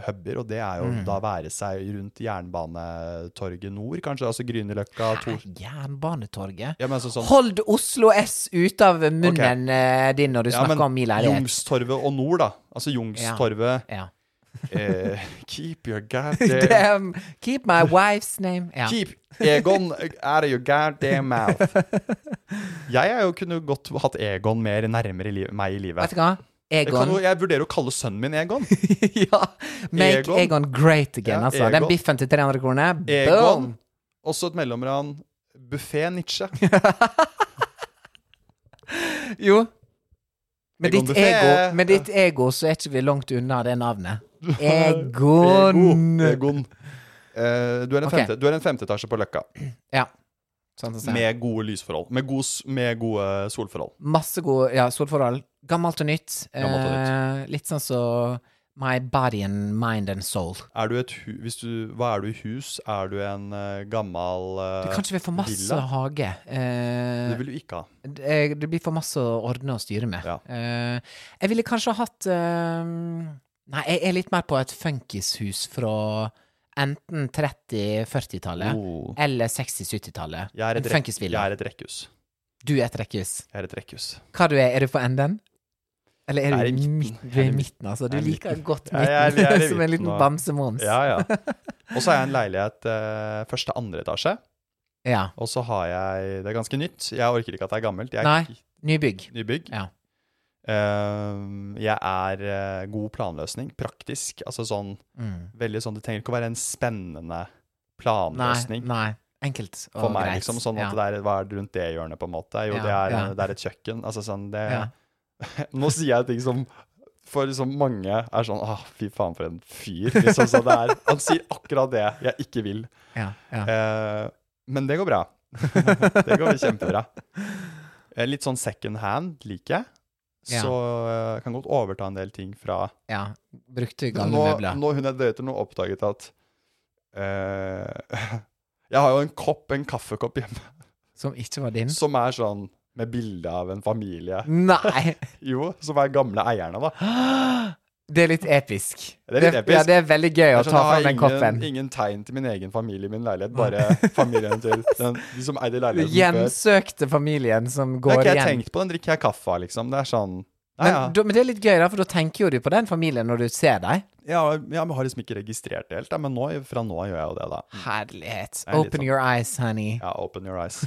A: huber, og det er
B: Mm.
A: jo da være seg rundt Jernbanetorget Nord, kanskje, altså Grünerløkka, Tor...
B: Jernbanetorget.
A: Ja, men altså sånn...
B: Hold Oslo S ut av munnen
A: Ok.
B: eh, din når du
A: Ja,
B: snakker
A: men
B: om min leilighet.
A: Youngstorget og Nord, da. Altså Youngstorget
B: Ja.
A: eh, Keep
B: [laughs]
A: your goddamn
B: Damn, keep my wife's name. Ja.
A: Eh. Keep Egon out of your goddamn mouth. Jeg er jo kunne godt hatt Egon mer nærmere i liv, meg i livet.
B: Vet du hva?
A: Jeg, kan,
B: Egon.
A: jo- jeg vurderer å kalle sønnen min Egon.
B: [laughs] ja. Make
A: Egon.
B: Egon. great again,
A: Ja,
B: altså. Den
A: Egon.
B: biffen til 300 kroner. [laughs] Boom!
A: Egon. Og så et mellomran. Buffé Nietzsche.
B: Jo. Med
A: Egon
B: ditt,
A: Buffet.
B: ego, med ditt ego så er ikke vi langt unna det
A: [laughs]
B: navnet.
A: Egon.
B: Egon.
A: Egon. Eh, du, er en
B: Ok.
A: femte, du er en femteetasje på Løkka,
B: Ja. Sånn som jeg sa.
A: med gode lysforhold. Med, god, s- med gode eh, solforhold.
B: Masse gode ja, solforhold. Gammelt og nytt.
A: Gammelt og nytt.
B: Eh, litt sånn så My body and mind and soul.
A: Er du et hu hvis du, hva er du i hus? Er du en eh, gammal eh,
B: Det kan ikke være for masse
A: villa?
B: hage. Eh,
A: Det vil du ikke ha.
B: det, det blir for masse å ordne og styre med.
A: Ja.
B: Eh, jeg ville kanskje hatt eh, Nei, jeg er litt mer på et funkishus fra enten 30-40-tallet
A: Oh.
B: eller 60-70-tallet.
A: Jeg, er
B: En
A: et rekk- jeg
B: funkisvilla.
A: er et rekkhus.
B: Du er et rekkhus.
A: Jeg er et rekkhus.
B: Hva du er, er du på enden? Eller er
A: Jeg er i
B: du i
A: midten.
B: midten? Du
A: Jeg er
B: er
A: i
B: i midten, altså. Du
A: Jeg er i
B: liker
A: midten.
B: godt
A: Ja, jeg er- jeg er
B: midten
A: i
B: [laughs] som en
A: midten
B: liten
A: nå.
B: bamsemons.
A: Ja, ja. [laughs] Og så har jeg en leilighet eh, første andre etasje.
B: Ja.
A: Og så har jeg Det er ganske nytt. Jeg orker ikke at det er gammelt. Jeg
B: Nei.
A: er k-
B: Nybygg.
A: nybygg.
B: Ja.
A: Eh, jeg er eh, god planløsning. Praktisk. Altså sånn
B: Mm.
A: veldig sånn Det trenger ikke å være en spennende
B: Nei,
A: planløsning.
B: nei. Enkelt og
A: For meg,
B: greit.
A: liksom. Sånn at
B: Ja.
A: det er, hva er det rundt det hjørnet, på en måte? Jo,
B: Ja,
A: det, er,
B: ja.
A: det er et kjøkken. Altså sånn det
B: Ja.
A: Nå sier jeg ting som for liksom mange er sånn Åh, fy faen, for en fyr. Liksom, så det er, han sier akkurat det jeg ikke vil.
B: Ja, ja.
A: Eh, men det går bra. [laughs] det går kjempebra. Eh, Litt sånn second hand liker jeg.
B: Ja.
A: Så eh, jeg kan godt overta en del ting fra
B: ja. Brukte gamle
A: nå,
B: møbler.
A: nå hun jeg døyter nå oppdaget at eh, [laughs] Jeg har jo en kopp, en kaffekopp hjemme,
B: Som ikke var din?
A: som er sånn med bilde av en familie.
B: Nei!
A: Jo, som er gamle eierne, da.
B: Det er litt episk.
A: [laughs] Det er litt episk.
B: Ja, det er veldig gøy å
A: Jeg skjønner,
B: ta fram
A: jeg
B: den koppen.
A: ingen, ingen tegn til min egen familie i min
B: [laughs]
A: leilighet, bare familien til den, de som eide
B: Den
A: leiligheten før.
B: Gjensøkte familien som
A: Det
B: går
A: har ikke jeg
B: igjen.
A: tenkt på, den drikker jeg kaffe av, liksom. Det er sånn Nei,
B: Men,
A: ja.
B: da- men det er litt gøy, da, for da tenker jo du på den familien når du ser dem.
A: Ja, ja, men har liksom ikke registrert det helt, da. men nå, fra nå av gjør jeg jo det,
B: Mm.
A: da.
B: Herlighet.
A: Det er litt
B: Open
A: sånn.
B: your eyes, honey.
A: Ja, open your
B: [laughs]
A: eyes.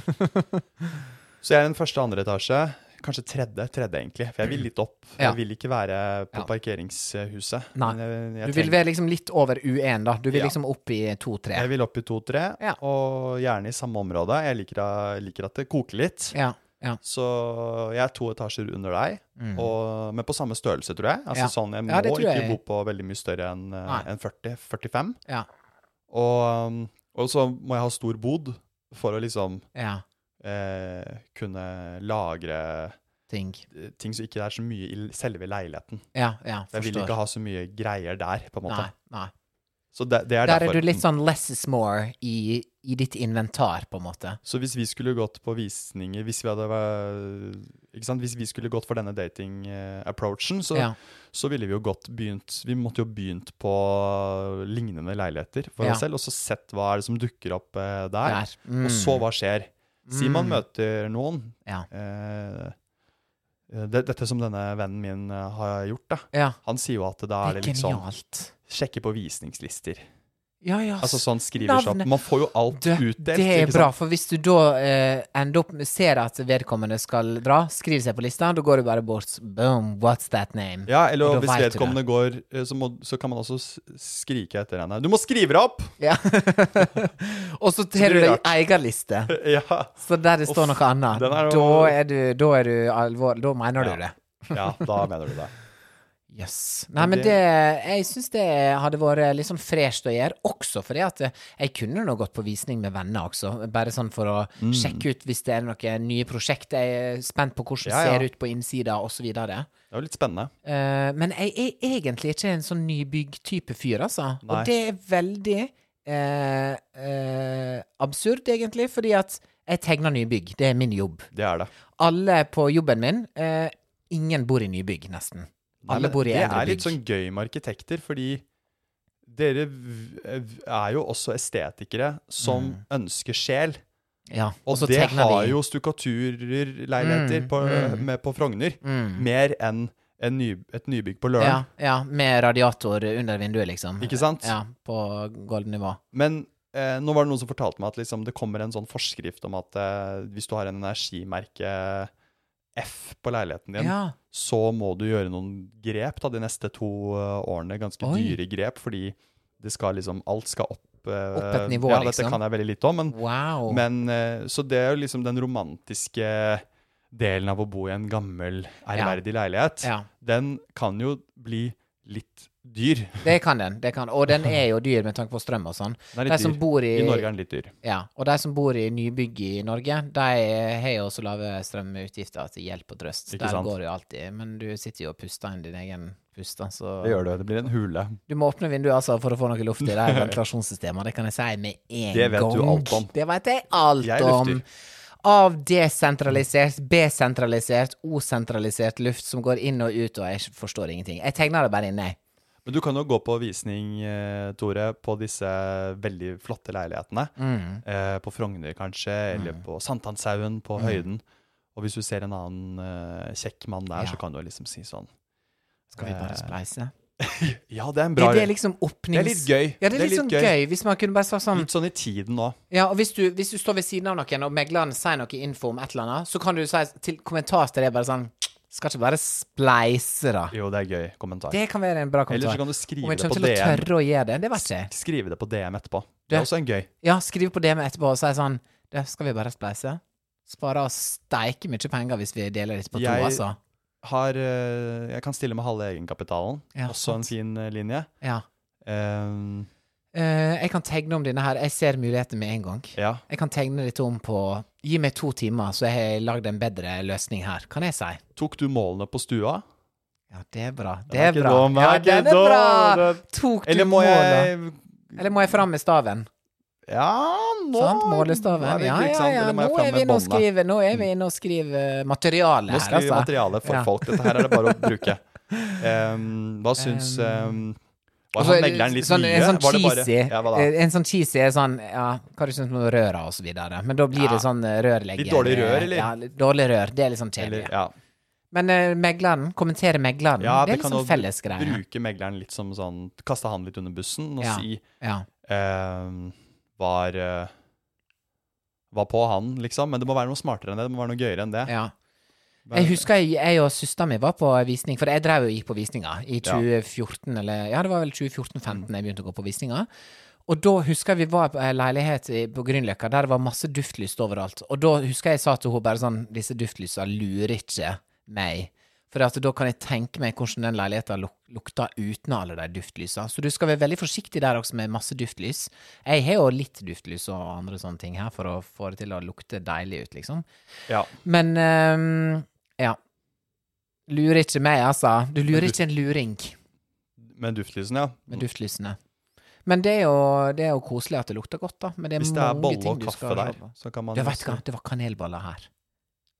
A: Så jeg er den første andre etasje, kanskje tredje, tredje egentlig, for jeg vil litt opp.
B: Ja.
A: Jeg vil ikke være på
B: Ja.
A: parkeringshuset.
B: Nei.
A: Men eh, jeg, jeg
B: Du vil
A: tenker-
B: være liksom litt over U1, da. Du vil
A: Ja.
B: liksom opp i 2-3.
A: Jeg vil opp i to-tre,
B: Ja.
A: og gjerne i samme område. Jeg liker, jeg liker at det koker litt.
B: Ja. Ja.
A: Så jeg er to etasjer under deg, og, men på samme størrelse, tror jeg. Altså
B: Mm. Ja.
A: sånn, Jeg må
B: Ja, det tror
A: ikke
B: jeg.
A: bo på veldig mye større enn eh,
B: Nei.
A: enn 40-45.
B: Ja.
A: Og, um, og så må jeg ha stor bod for å liksom
B: ja.
A: eh, kunne lagre
B: Ting.
A: eh, ting som ikke er så mye i l- selve leiligheten.
B: Ja, ja.
A: Jeg vil
B: Forstår.
A: ikke ha så mye greier der, på en måte.
B: Nei, nei.
A: Så det, det er
B: Der
A: derfor.
B: er du litt sånn less is more i, i ditt inventar, på en måte.
A: Så hvis vi skulle gått på visninger Hvis vi, hadde, væ- ikke sant? Hvis vi skulle gått for denne dating-approachen, så,
B: Ja.
A: så ville vi jo godt begynt Vi måtte jo begynt på lignende leiligheter for
B: Ja.
A: oss selv, og så sett hva er det som dukker opp eh, der,
B: Der. Mm.
A: og så hva skjer. Si man
B: Mm.
A: møter noen
B: Ja.
A: eh, det, Dette som denne vennen min eh, har gjort, da.
B: ja.
A: Han sier jo at da er det
B: Det er
A: litt sånn
B: genialt.
A: Sjekke på visningslister.
B: Ja, ja.
A: Altså sånn skriver seg opp.
B: navnet-
A: Man får jo alt
B: Det,
A: utdelt.
B: det er
A: ikke sant?
B: bra, for hvis du da eh, ender opp med ser at vedkommende skal dra, skriver seg på lista, da går du bare bort. Boom, what's that name?
A: Ja, eller
B: Da
A: hvis
B: vet du
A: vedkommende går, eh, så, må, så kan man også s- skrike etter henne. Du må skrive deg opp! [laughs]
B: Ja. [laughs] Og så
A: blir
B: har du
A: det
B: deg
A: rart.
B: egen liste,
A: ja.
B: så der det står
A: Uff,
B: noe annet.
A: den er jo-
B: Da er du, da er du alvorlig. Da
A: Ja.
B: mener du det.
A: ja, da mener du det.
B: Yes. Nei, men
A: det-
B: det Jeg syns det hadde vært litt sånn fresht å gjøre, også fordi at jeg kunne nå gått på visning med venner også, bare sånn for å
A: Mm.
B: sjekke ut hvis det er noen nye prosjekt. Jeg er spent på hvordan det
A: Ja, ja.
B: ser ut på innsida, osv.
A: Det er jo litt spennende.
B: Uh, men jeg er egentlig ikke en sånn nybygg-type fyr, altså.
A: Nei.
B: Og det er veldig eh, eh, absurd, egentlig, fordi at jeg tegner nybygg. Det er min jobb.
A: Det er det.
B: Alle på jobben min eh, Ingen bor i nybygg, nesten.
A: Nei,
B: Alle
A: men
B: bor i
A: det
B: eldre
A: er
B: bygg.
A: litt sånn gøy med arkitekter, fordi dere v- v- er jo også estetikere som ønsker sjel.
B: Ja,
A: Og,
B: så
A: det
B: Mm. tegner
A: har
B: vi.
A: jo stukkaturerleiligheter på,
B: Mm, mm.
A: med- på Frogner.
B: Mm.
A: Mer enn en ny, et nybygg på Løren.
B: ja, ja, med radiator under vinduet, liksom.
A: Ikke sant?
B: Ja, på golvnivå.
A: Men eh, nå var det noen som fortalte meg at liksom, det kommer en sånn forskrift om at eh, hvis du har en energimerke F på leiligheten din,
B: Ja.
A: så må du gjøre noen grep da, de neste to eh, årene. Ganske
B: Oi.
A: dyre grep, fordi det skal liksom, alt skal opp. eh,
B: Opp et nivå,
A: ja,
B: liksom.
A: Dette kan jeg veldig lite om, men,
B: Wow.
A: men eh, Så det er jo liksom den romantiske delen av å bo i en gammel, ærverdig leilighet.
B: Ja.
A: Den kan jo bli litt dyr.
B: Det kan den. det kan Og den er jo dyr med tanke på strøm og sånn.
A: Den er
B: De
A: litt
B: som
A: dyr.
B: bor i,
A: I Norge er den litt dyr.
B: Ja, og de som bor i nybygg i Norge, de har jo så lave strømutgifter at det hjelper og trøst.
A: Ikke
B: Der
A: sant?
B: går det jo alltid. Men du sitter jo og puster inn din egen pust, da, så
A: Det gjør det. Det blir en hule.
B: Du må åpne vinduet altså for å få noe luft i
A: [laughs]
B: de ventilasjonssystemene. Det kan jeg si med en
A: Det vet
B: gang.
A: du alt om.
B: Det vet jeg alt
A: Jeg lufter.
B: om. Av desentralisert, besentralisert, osentralisert luft som går inn og ut, og jeg forstår ingenting. Jeg tegner det bare inn, jeg.
A: Men du kan jo gå på visning, eh, Tore, på disse veldig flotte leilighetene. Eh, på Frogner kanskje, eller
B: Mm.
A: på Sankthanshaugen, på Høyden. Og hvis du ser en annen eh, kjekk mann der,
B: Ja.
A: så kan du liksom si sånn
B: Skal vi bare spleise?
A: Ja, det er en Eh, bra
B: Er det liksom åpnings...
A: Det er litt gøy.
B: Ja, det er litt sånn gøy. Hvis man kunne bare sagt sånn
A: Litt sånn i tiden nå.
B: Ja, og hvis du, hvis du står ved siden av noen, og megleren sier noe info om et eller annet, så kan du si til kommentar til det bare sånn Skal ikke bare spleise, da.
A: Jo, det er gøy kommentar.
B: Det kan være en bra
A: Eller
B: kommentar.
A: så kan du skrive
B: Om jeg
A: det på
B: kommer til å
A: DM.
B: tørre å gjøre det, det vet jeg ikke.
A: Skrive det på DM etterpå.
B: Du-
A: Det er også en gøy.
B: Ja, skriv på DM etterpå og si sånn Det skal vi bare spleise. Spare oss steike mye penger hvis vi deler litt på to,
A: Jeg-
B: altså.
A: Har, eh, jeg kan stille med halve egenkapitalen.
B: Ja,
A: også en
B: sant.
A: fin eh, linje.
B: Ja.
A: Eh,
B: Eh, jeg kan tegne om denne her. Jeg ser mulighetene med en gang.
A: ja.
B: Jeg kan tegne litt om på Gi meg to timer, så jeg har lagd en bedre løsning her, kan jeg si.
A: Tok du målene på stua?
B: Ja, det er bra. Det
A: er
B: er
A: ikke
B: bra.
A: dum,
B: Ja,
A: er ikke
B: den er bra.
A: dum.
B: Tok du
A: Eller må
B: målet?
A: jeg
B: Eller må jeg fram med staven?
A: Ja, nå
B: Sant?
A: nå er
B: Målestaven.
A: det
B: Ja,
A: ikke
B: ja,
A: sant,
B: ja.
A: eller må
B: Nå
A: jeg
B: er
A: fram
B: vi
A: med
B: inne og
A: bånda?
B: skriver, nå er vi inne og skriver eh, materiale
A: Nå
B: her,
A: skriver vi
B: altså.
A: materiale for
B: Ja.
A: folk. Dette her er det bare å
B: [laughs]
A: bruke. Em, hva syns em, Var
B: Altså,
A: han megleren litt
B: sånn,
A: mye?
B: En sånn
A: var det bare,
B: cheesy,
A: ja, hva da?
B: eh, en sånn cheesy er sånn ja, Hva du syns om røra og så videre. Men da blir det sånn eh, rørlegger.
A: Litt dårlig rør, eller?
B: Ja, litt dårlig rør. Det er litt sånn kjedelig.
A: Eller, ja.
B: Men eh, megleren, kommentere megleren,
A: ja, det
B: det er litt
A: kan jo
B: sånn fellesgreie.
A: bruke megleren litt som sånn Kaste han litt under bussen og
B: Ja.
A: si
B: Ja.
A: em, Var eh, Var på han, liksom. Men det må være noe smartere enn det. Det må være noe gøyere enn det.
B: ja. Jeg husker jeg, jeg og søsteren min var på visning, for jeg drev og gikk på visninger i 2014 eller Ja, det var vel 2014-15 jeg begynte å gå på visninger. Og da husker jeg vi var på en leilighet i- på Grünerløkka der det var masse duftlyst overalt. Og da husker jeg jeg sa til henne bare sånn Disse duftlysa lurer ikke meg. For at da kan jeg tenke meg hvordan den leiligheten luk lukta uten alle de duftlysa. Så du skal være veldig forsiktig der også med masse duftlys. Jeg har jo litt duftlys og andre sånne ting her for å få det til å lukte deilig ut, liksom.
A: Ja.
B: Men ehm, ja. Lurer ikke meg, altså. Du lurer ikke en luring
A: Med duftlysene, ja.
B: med duftlysene. Men det er, jo, det er jo koselig at det lukter godt, da. Men det er
A: Hvis det er
B: mange
A: bolle og
B: ting du
A: kaffe
B: skal
A: der,
B: se på.
A: så kan man
B: Du
A: jo
B: vet du hva,
A: også-
B: det var kanelboller her.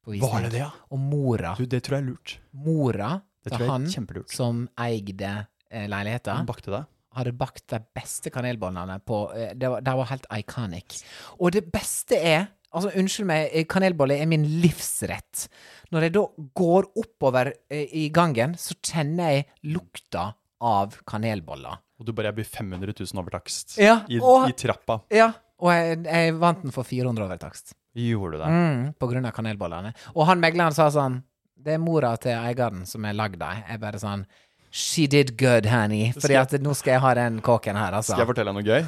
B: På
A: Var
B: visningen.
A: det det, ja?
B: Og mora,
A: Du, det tror jeg er lurt.
B: mora
A: Det
B: til
A: tror jeg er
B: han
A: kjempelurt.
B: som eide eh, leiligheta,
A: Hun bakte det.
B: hadde bakt de beste kanelbollene på eh, Det var, det var helt iconic. Og det beste er Altså, unnskyld meg, eh, kanelbolle er min livsrett. Når jeg da går oppover eh, i gangen, så kjenner jeg lukta av kanelboller.
A: Og du bare jeg blir 500 000 over takst
B: Ja,
A: i,
B: og-
A: i trappa.
B: Ja, og jeg, jeg vant den for 400 over takst.
A: Gjorde du det?
B: Mm, på grunn av kanelbollene. Og han megleren sa sånn Det er mora til eieren som har lagd dem. Jeg bare sånn She did good, honey. Fordi at nå skal jeg ha den kåken her, altså.
A: Skal jeg fortelle deg
B: [laughs]
A: noe gøy?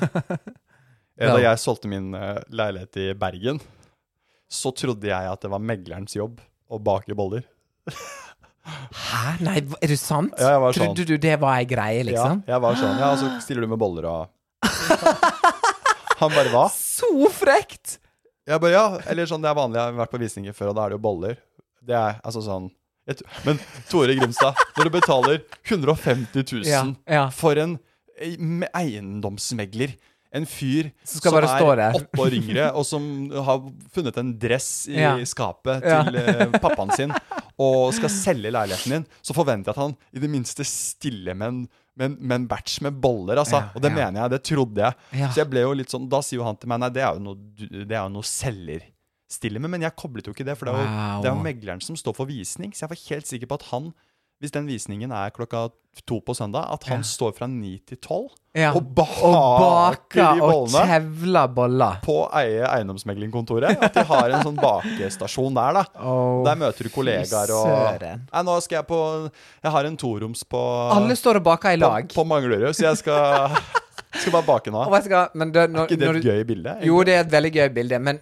A: Eh, Da jeg solgte min eh, leilighet i Bergen, så trodde jeg at det var meglerens jobb å bake boller.
B: Hæ? Nei, hva- er det sant?
A: Ja, jeg var
B: Trodde
A: sånn.
B: du det var ei greie, liksom?
A: Ja, jeg var sånn, ja, og så stiller du med boller
B: [laughs]
A: og Han bare hva?
B: Så frekt!
A: Jeg bare ja, eller sånn, det er vanlig, jeg har vært på visninger før, og da er det jo boller. Det er altså sånn jeg, t- Men Tore Grimstad, når du betaler 150 000
B: Ja, ja.
A: for en e- me- eiendomsmegler en fyr
B: Som skal bare stå der.
A: er åtte år
B: [laughs]
A: yngre, og som har funnet en dress i
B: Ja.
A: skapet
B: Ja.
A: til eh, pappaen sin, og skal selge leiligheten din, så forventer jeg at han i det minste stiller med en, med en, med en batch med boller, altså.
B: Ja,
A: og det
B: ja.
A: mener jeg, det trodde jeg.
B: Ja.
A: Så jeg ble jo litt sånn, da sier jo han til meg Nei, det er jo noe, du- det er jo noe selger stiller med, men jeg koblet jo ikke det, for det er jo,
B: Wow.
A: det er jo megleren som står for visning. Så jeg var helt sikker på at han, hvis den visningen er klokka to på søndag, at han står fra ni til tolv
B: Ja.
A: og baker de
B: og
A: bollene
B: kjevla boller.
A: på eie eiendomsmeglingkontoret. At de har en sånn bakestasjon der, da.
B: Åh,
A: der møter du kollegaer og
B: søren.
A: Nei, nå skal jeg på Jeg har en toroms på
B: Alle står og baker i
A: på,
B: lag.
A: på Manglerud, så jeg skal, [laughs] skal bare bake nå.
B: Og vet du hva, men det, når,
A: ikke det
B: når
A: et
B: du-
A: gøy bilde? egentlig?
B: Jo, det er et veldig gøy bilde, men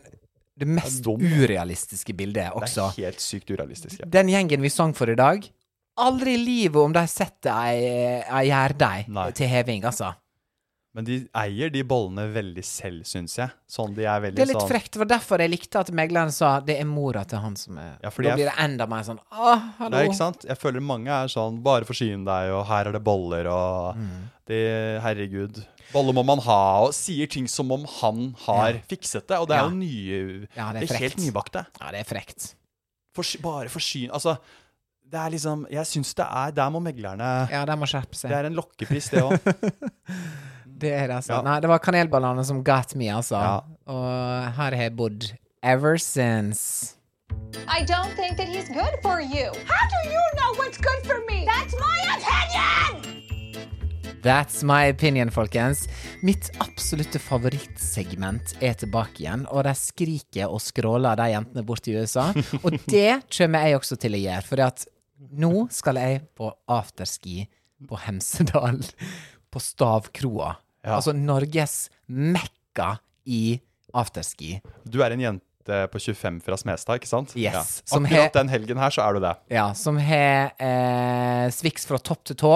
B: det mest
A: Det er dumt.
B: urealistiske bildet
A: det
B: også.
A: er helt sykt urealistisk. Ja.
B: Den gjengen vi sang for i dag, aldri i livet om de setter ei, ei gjærdeig
A: Nei.
B: til heving, altså.
A: Men de eier de bollene veldig selv, syns jeg. Sånn de er veldig
B: Det er litt
A: sånn
B: frekt, for derfor jeg likte at megleren sa det er mora til han som er
A: Ja, fordi
B: Da
A: jeg-
B: blir det enda mer sånn Åh, hallo.
A: Nei, ikke sant? Jeg føler mange er sånn Bare forsyn deg, og her er det boller, og
B: Mm.
A: det, Herregud. Boller må man ha, og sier ting som om han har fikset det. Og det er
B: Ja.
A: jo nye
B: Ja, det er
A: det er helt
B: frekt.
A: nybakte.
B: Ja, det er frekt.
A: Forsy- bare forsyn Altså, det er liksom Jeg syns det er Der må meglerne
B: Ja, de må skjerpe seg.
A: Det er en lokkepris, det òg.
B: [laughs] Det er det, altså.
A: Ja.
B: Nei, det var kanelbananene som got me, altså.
A: Ja.
B: Og her har jeg bodd ever since.
D: I don't think that he's good for you. How do you know what's good for me? That's my opinion!
B: That's my opinion, folkens. Mitt absolutte favorittsegment er tilbake igjen, og de skriker og skråler, de jentene borte i USA.
A: [laughs]
B: Og det kommer jeg også til å gjøre, for at nå skal jeg på afterski på Hemsedal, på Stavkroa. Altså Norges mekka i afterski.
A: Du er en jente på 25 fra Smestad, ikke sant?
B: Yes,
A: Ja.
B: som
A: Akkurat
B: he-
A: den helgen her, så er du det.
B: Ja, som har eh, sviks fra topp til tå.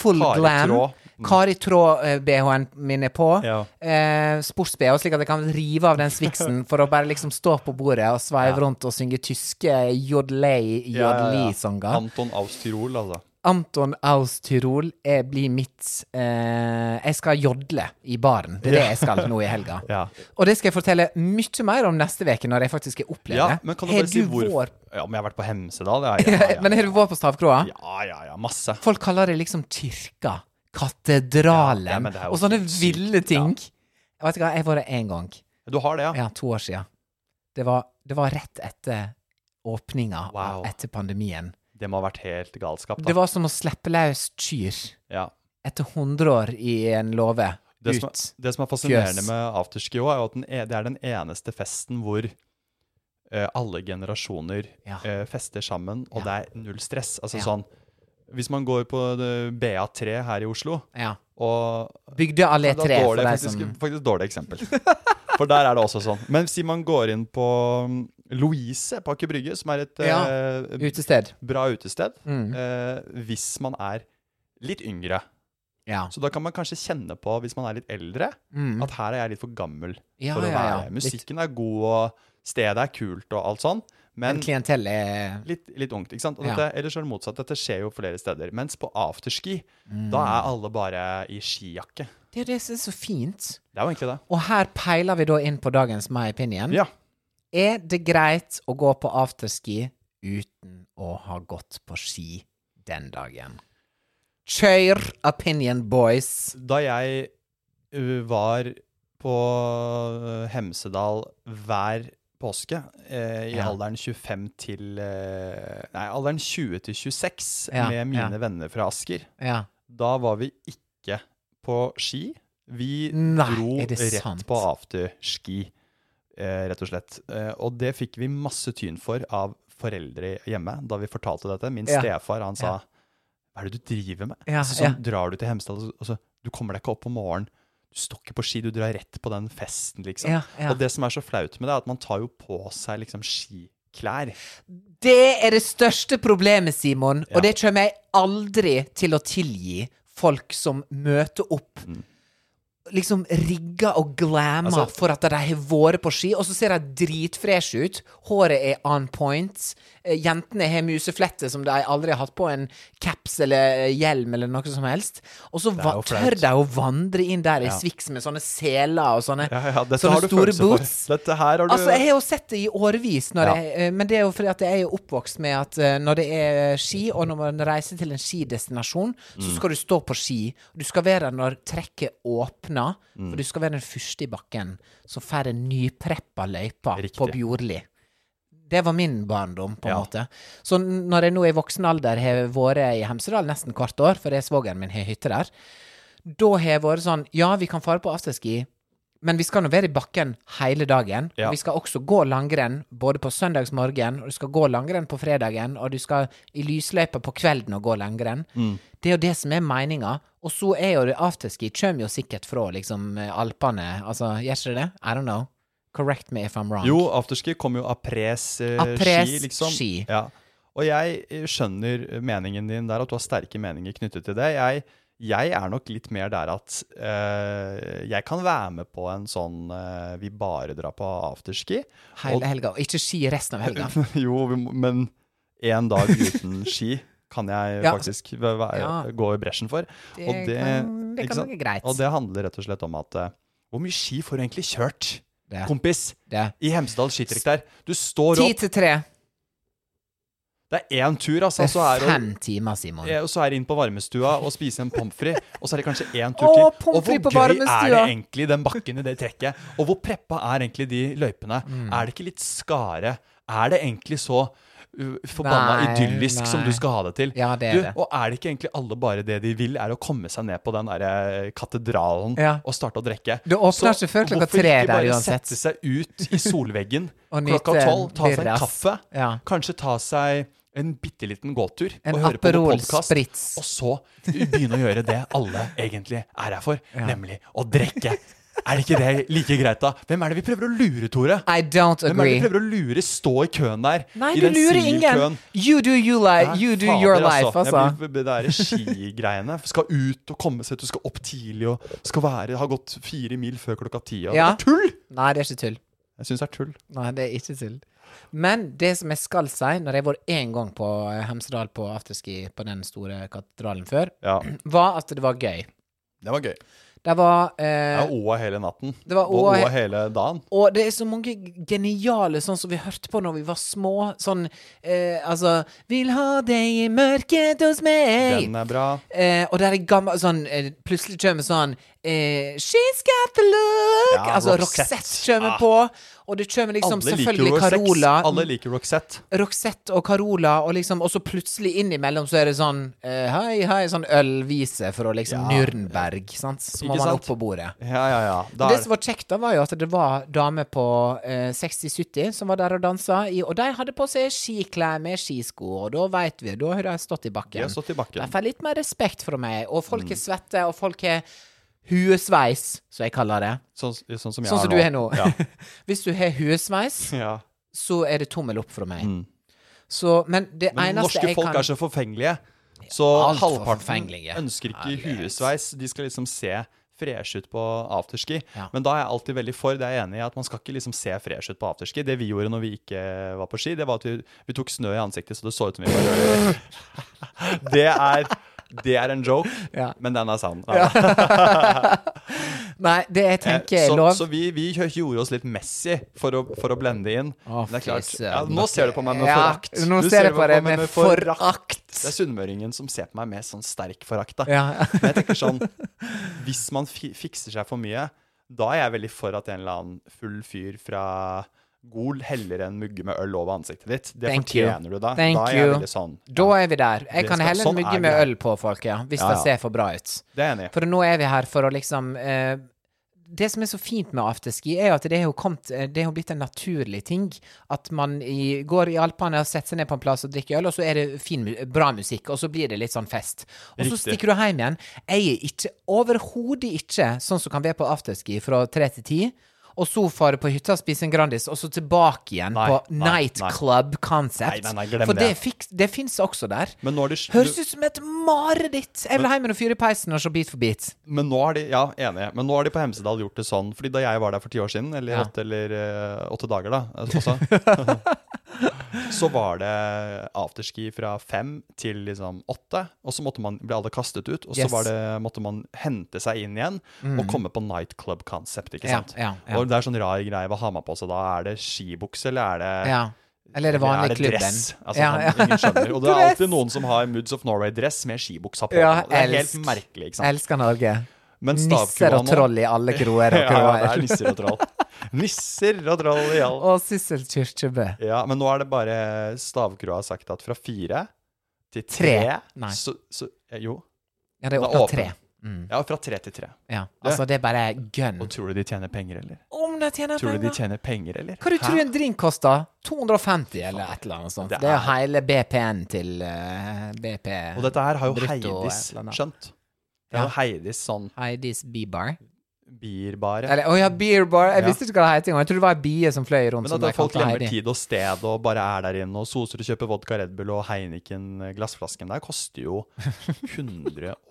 B: Full
A: Kari
B: glam.
A: Mm. Tråd. Mm.
B: Kari Tråd-BH-en eh, min er på.
A: Ja.
B: Eh, Sports-BH, slik at jeg kan rive av den sviksen for å bare liksom stå på bordet og sveive rundt og synge tyske E jodlei-jodli-sanger.
A: Anton Aus Tyrol, altså.
B: Anton Aus Tyrol er, blir mitt eh, Jeg skal jodle i baren. Det er det jeg skal nå i helga.
A: [laughs] Ja.
B: Og det skal jeg fortelle mye mer om neste uke, når jeg faktisk er opplevd
A: Ja,
B: det.
A: men kan du
B: Har
A: bare si
B: du
A: hvor
B: vår-
A: Ja, men jeg har vært på Hemsedal,
B: [laughs]
A: ja. Ja, ja,
B: Men har du vært på Stavkroa?
A: ja, ja, ja masse.
B: Folk kaller det liksom kirka, katedralen
A: Ja, ja, men det er jo
B: og sånne
A: sykt,
B: ville ting. Jeg Vet du hva, jeg var der én gang.
A: Du har det, ja?
B: Ja, to år siden. Det var, det var rett etter åpninga,
A: Wow.
B: etter pandemien.
A: Det må ha vært helt galskap, da.
B: Det var som å slippe løs kyr
A: ja.
B: etter 100 år i en låve.
A: det, som er,
B: Ut.
A: det som er fascinerende
B: Fjøs.
A: med afterski også, er jo at den e- det er den eneste festen hvor eh, alle generasjoner
B: Ja.
A: eh, fester sammen, og det er null stress. Altså
B: Ja.
A: sånn Hvis man går på eh, det BA3 her i Oslo,
B: Ja.
A: og
B: Bygde allé
A: Ja, da
B: 3
A: går
B: E for
A: det
B: de
A: faktisk,
B: som
A: faktisk dårlig eksempel. For der er det også sånn. Men si man går inn på mm, Louise på Aker Brygge, som er et
B: Ja,
A: eh,
B: Utested.
A: bra utested,
B: Mm.
A: eh, hvis man er litt yngre.
B: Ja.
A: Så da kan man kanskje kjenne på, hvis man er litt eldre, at her er jeg litt for gammel
B: Mm. Ja,
A: for å
B: ja, ja.
A: være. Musikken er god, og stedet er kult og alt sånn,
B: Men
A: men
B: klientellet er
A: litt, litt ungt, ikke sant? Og
B: Ja.
A: dette, Eller så er det motsatt, dette skjer jo flere steder. Mens på afterski,
B: Mm.
A: da er alle bare i skijakke.
B: Det er jo det som er så fint.
A: Det er jo egentlig det.
B: Og her peiler vi da inn på dagens My Opinion.
A: Ja.
B: Er det greit å gå på afterski uten å ha gått på ski den dagen? Kjør opinion, boys!
A: Da jeg ø, var på ø, Hemsedal hver påske, eh, i
B: Ja.
A: alderen 25 til eh, Nei, alderen 20 til 26,
B: Ja,
A: med mine
B: ja.
A: venner fra Asker,
B: Ja.
A: da var vi ikke på ski. Vi
B: Nei,
A: dro
B: er det
A: rett
B: sant?
A: på afterski, eh, rett og slett. Eh, og det fikk vi masse tyn for av foreldre hjemme da vi fortalte dette. Min
B: Ja.
A: stefar, han sa
B: Ja.
A: Hva er det du driver med?
B: Ja,
A: altså, sånn, Drar du til Hemsedal, og så altså, Du kommer deg ikke opp om morgenen. Du står ikke på ski, du drar rett på den festen, liksom.
B: Ja, ja.
A: Og det som er så flaut med det, er at man tar jo på seg liksom skiklær.
B: Det er det største problemet, Simon, og det kommer jeg aldri til å tilgi folk som møter opp. Liksom rigga og glamma
A: Mm. Altså-
B: for at de har vært på ski, og så ser de dritfreshe ut. Håret er on point. Eh, Jentene har musefletter som de aldri har hatt på, en caps eller eh, hjelm eller noe som helst. Og så
A: er
B: va-
A: jo flaut.
B: tør de å vandre inn der i
A: Ja.
B: sviks med sånne seler og sånne,
A: Ja, ja, dette har
B: sånne
A: du
B: store
A: følelse for.
B: boots.
A: Dette her har du
B: Altså, jeg har jo sett det i årevis, når
A: Ja.
B: jeg, eh, men det er jo fordi at jeg er jo oppvokst med at eh, når det er ski, og når man reiser til en skidestinasjon,
A: Mm.
B: så skal du stå på ski. Du skal være der når trekket åpner,
A: Mm.
B: for du skal være den første i bakken som får en nypreppa løype på
A: Riktig.
B: Bjorli. Det var min barndom, på en
A: Ja.
B: måte. Så n- når jeg nå i voksen alder har vært i Hemsedal nesten hvert år, for det er svogeren min har hytte der, da har jeg vært sånn Ja, vi kan fare på afterski, men vi skal nå være i bakken hele dagen.
A: Ja.
B: Og vi skal også gå langrenn både på søndagsmorgen, og du skal gå langrenn på fredagen, og du skal i lysløypa på kvelden og gå langrenn.
A: Mm.
B: Det er jo det som er meninga. Og så er jo det afterski Kjem jo sikkert fra liksom eh, Alpene, altså, gjør ikke det det? I don't know. Correct me if I'm wrong.
A: Jo, afterski kom jo av pres eh,
B: Av pres
A: ski, liksom.
B: ski.
A: Ja. Og jeg eh, skjønner meningen din der, at du har sterke meninger knyttet til det. Jeg, jeg er nok litt mer der at eh, jeg kan være med på en sånn eh, vi bare drar på afterski.
B: Hele helga, og ikke ski resten av helga.
A: [laughs] jo, vi må- men én dag
B: [laughs]
A: uten ski kan jeg
B: Ja.
A: faktisk væ- væ-
B: Ja.
A: gå i bresjen for.
B: Det kan- det
A: ikke
B: kan
A: sant?
B: være greit.
A: Og det handler rett og slett om at eh, hvor mye ski får du egentlig kjørt,
B: Det.
A: kompis?
B: Det.
A: I Hemsedal skitrikk der. Du står
B: Ti
A: opp,
B: til tre.
A: det er én tur, altså.
B: Det
A: Så er
B: er
A: det,
B: fem timer, Simon.
A: eh, og så er det inn på varmestua og spise en pommes frites, og så er det kanskje én tur
B: Å,
A: til.
B: pommes
A: Og hvor
B: frites på
A: gøy er det
B: varmestua.
A: egentlig, den bakken i det trekket? Og hvor preppa er egentlig de løypene? Er det ikke litt skare? Er det egentlig så uh, forbanna
B: Nei,
A: idyllisk som
B: nei.
A: du skal ha det til?
B: Ja, det er
A: du,
B: det.
A: Og er det ikke egentlig alle bare det de vil, er å komme seg ned på den derre katedralen
B: Ja.
A: og starte å drikke?
B: Det åpner ikke før klokka tre der
A: Hvorfor ikke
B: uansett?
A: bare sette seg ut i solveggen
B: [laughs] Og
A: klokka
B: nyte
A: tolv, ta seg en
B: birras.
A: kaffe,
B: Ja.
A: kanskje ta seg en bitte liten gåtur
B: En
A: og høre på noe
B: Aperol
A: podcast,
B: Spritz.
A: og så begynne å gjøre det alle egentlig er her for, nemlig å drikke. Er det ikke det like greit, da? Hvem er det vi prøver å lure, Tore?
B: I don't
A: Hvem er det vi
B: agree.
A: prøver å lure? Stå i køen der.
B: Nei,
A: i
B: du
A: den
B: lurer ingen.
A: sivilkøen.
B: You do you life.
A: Nei,
B: Uh, You do
A: fader,
B: your life,
A: Jeg
B: altså.
A: blir- Det der skigreiene. Skal ut og komme seg ut, du skal opp tidlig og skal være, ha gått fire mil før klokka ti. og-
B: Ja.
A: Det er tull!
B: Nei, det er ikke tull.
A: Jeg syns det er tull.
B: Nei, det er ikke tull. Men det som jeg skal si, når jeg har vært én gang på eh, Hemsedal på afterski på den store katedralen før,
A: Ja,
B: var at det var gøy.
A: Det var gøy.
B: Det var
A: Det
B: eh,
A: er Åa hele natten.
B: Det var
A: og
B: Åa he-
A: Åa hele dagen.
B: Og det er så mange geniale sånn som vi hørte på når vi var små. Sånn eh, altså Vil ha deg i mørket hos meg.
A: Den er bra.
B: Eh, og der er gammel sånn eh, Plutselig kommer sånn eh, She's got the look.
A: Ja,
B: altså
A: Roxette.
B: Roxette, kommer
A: Ah.
B: på. Og det kommer liksom
A: Alle liker
B: selvfølgelig
A: Roxette.
B: Carola.
A: Alle liker Roxette.
B: Roxette og Carola, og liksom Og så plutselig innimellom så er det sånn eh, Hei, hei, sånn ølvise for å liksom Nürnberg, sant? Så må
A: Ikke
B: man
A: sant?
B: opp på bordet.
A: Ja, ja, ja. Da
B: Det
A: er-
B: som var kjekt da, var jo at det var damer på eh, 60-70 som var der og dansa, i, og de hadde på seg skiklær med skisko, og da veit vi, da har de stått i
A: De
B: bakken.
A: har stått i bakken.
B: De får litt mer respekt fra meg, og folk
A: Mm.
B: er svette, og folk har huesveis, som jeg kaller det.
A: sånn, sånn som jeg
B: Sånn som du
A: har
B: har nå. [laughs]
A: Ja.
B: Hvis du har huesveis,
A: ja.
B: så er det tommel opp fra meg. Så, men det
A: Mm. Men
B: eneste
A: norske
B: jeg
A: folk
B: kan
A: er så forfengelige. Så
B: Alt for
A: halvparten
B: forfengelige.
A: ønsker ikke
B: Herlighet.
A: huesveis. De skal liksom se fresh ut på afterski.
B: Ja.
A: Men da er jeg alltid veldig for, det er jeg enig i, at man skal ikke liksom se fresh ut på afterski. Det vi gjorde når vi ikke var på ski, det var at vi, vi tok snø i ansiktet så det så ut som vi var
B: [laughs]
A: Det er det er en joke,
B: Ja.
A: men den er sann.
B: Nei, det jeg
A: Eh,
B: tenker er
A: så,
B: lov.
A: så vi, vi kjø- gjorde oss litt messy for å, for å blende inn.
B: Å,
A: Men det er klart,
B: fy
A: ja,
B: søren.
A: nå ser du på meg med
B: Ja,
A: forakt.
B: Nå
A: Du
B: ser jeg på deg med
A: Det er
B: forakt.
A: sunnmøringen som ser på meg med sånn sterk forakt. Da.
B: Ja.
A: Men jeg tenker sånn, hvis man fi fikser seg for mye, da er jeg veldig for at en eller annen full fyr fra Gol heller en mugge med øl over ansiktet ditt. Det
B: Thank you.
A: fortjener du da.
B: Thank
A: da er jeg
B: you.
A: veldig sånn.
B: Da er vi der. Jeg
A: Det
B: kan
A: skal-
B: helle
A: sånn
B: en mugge
A: er
B: med
A: vi.
B: øl på folk, ja. Hvis
A: Ja, ja.
B: det ser for bra ut.
A: Det er jeg enig i.
B: For nå er vi her for å liksom eh, Det som er så fint med afterski, er jo at det er jo kommet eh, Det er jo blitt en naturlig ting. At man i, går i Alpene og setter seg ned på en plass og drikker øl, og så er det fin, mu- bra musikk, og så blir det litt sånn fest. Og så
A: Riktig.
B: stikker du hjem igjen. Jeg er ikke overhodet ikke sånn som kan være på afterski fra tre til ti. Og så fare på hytta og spise en Grandis, og så tilbake igjen
A: Nei,
B: på
A: nei, nei.
B: nightclub concept.
A: Nei, nei, nei, glem
B: For det,
A: det.
B: fiks- det fins også der.
A: Men nå er det sl-
B: Høres ut som et mareritt! Jeg vil hjem og fyre i peisen og se Beat for beat.
A: Men nå har de, ja, enig. Men nå har de på Hemsedal gjort det sånn. Fordi da jeg var der for ti år siden, eller,
B: Ja.
A: åtte, eller eh, åtte dager da, altså også,
B: [laughs]
A: så var det afterski fra fem til liksom åtte. Og så måtte man, ble alle kastet ut, og så
B: Yes. Mm.
A: var det, måtte man hente seg inn igjen og komme på nightclub-konsept, ikke
B: Ja,
A: sant?
B: ja, ja.
A: Og det er sånn rar greie hva har man på seg da. Er det skibukse, eller er det
B: Ja. Eller er
A: eller
B: det vanlig
A: er det
B: klubben?
A: dress? Altså,
B: ja, ja.
A: Ingen skjønner. Og det er
B: [laughs] Dress!
A: alltid noen som har Moods of Norway-dress med skibuksa på.
B: Ja,
A: det er helt
B: elsk.
A: merkelig. ikke sant?
B: Elsker Norge.
A: Men
B: Nisser
A: stavkua
B: og
A: nå- [laughs]
B: troll i alle kroer og
A: ja, ja, det er
B: kroer.
A: nisser og troll. Nisser og troll i all
B: Og Sissel Kyrkjebø.
A: Ja, men nå er det bare Stavkroa har sagt at fra fire til tre,
B: Tre? Nei.
A: Så, så eh, Jo.
B: Ja, det er
A: Det er
B: åpna
A: åpent.
B: tre. Mm.
A: Ja, fra tre til tre.
B: Ja. Altså, det er bare gønn.
A: Og tror du de tjener penger, eller?
B: Om de tjener
A: Tror du de
B: penger!
A: tjener penger, eller?
B: Hva du
A: Hæ?
B: tror en drink koster? 250 eller et eller annet sånt.
A: Det
B: Det er jo
A: er-
B: hele BP-en til eh, BP
A: Og dette her har jo
B: Brutto og
A: Heidis
B: et eller annet.
A: skjønt. Det er
B: Ja.
A: jo Heidis sånn
B: Heidis B-bar.
A: Bierbaret.
B: Eller, å ja, beer bar. Jeg
A: Ja.
B: visste ikke hva det het engang. Jeg trodde det var ei bie som fløy rundt.
A: Men
B: som
A: at
B: de
A: folk
B: kalte
A: glemmer
B: Heidi.
A: tid og sted og bare er der inne og soser og kjøper vodka Red Bull og Heineken eh, glassflasken der koster
B: [laughs]
A: jo 199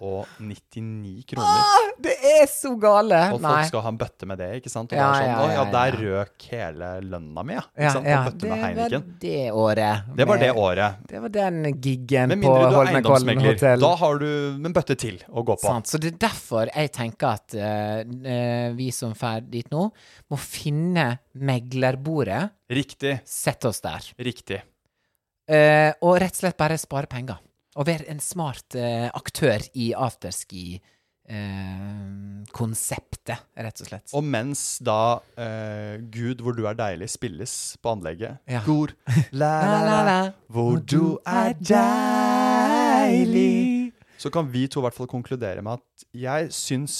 A: kroner.
B: Det er så gale!
A: Og
B: Ah, Nei.
A: folk skal ha en bøtte med det, ikke sant? Og
B: Ja,
A: det er sånn,
B: ja,
A: «Å,
B: ja,
A: ja,
B: ja.
A: der røk hele lønna mi, ja. Ikke
B: Ja,
A: sant? En
B: ja.
A: bøtte med
B: Det var
A: Heineken.
B: det året.
A: Det var
B: med-
A: det året.
B: Det var den giggen
A: Med
B: på
A: mindre du er
B: Holmenkollen
A: eiendomsmegler,
B: hotell.
A: da har du en bøtte til å gå på.
B: Sant. Så det er derfor jeg tenker at eh, eh, vi som drar dit nå, må finne meglerbordet,
A: Riktig.
B: sette oss der,
A: Riktig.
B: Eh, og rett og slett bare spare penger. Og være en smart eh, aktør i afterski-konseptet, rett og slett.
A: Og mens da eh, Gud, hvor du er deilig, spilles på anlegget
B: Ja. [laughs]
A: Gud, la, la, la, la, hvor du er deilig
B: deilig.
A: Så kan vi to i hvert fall konkludere med at jeg syns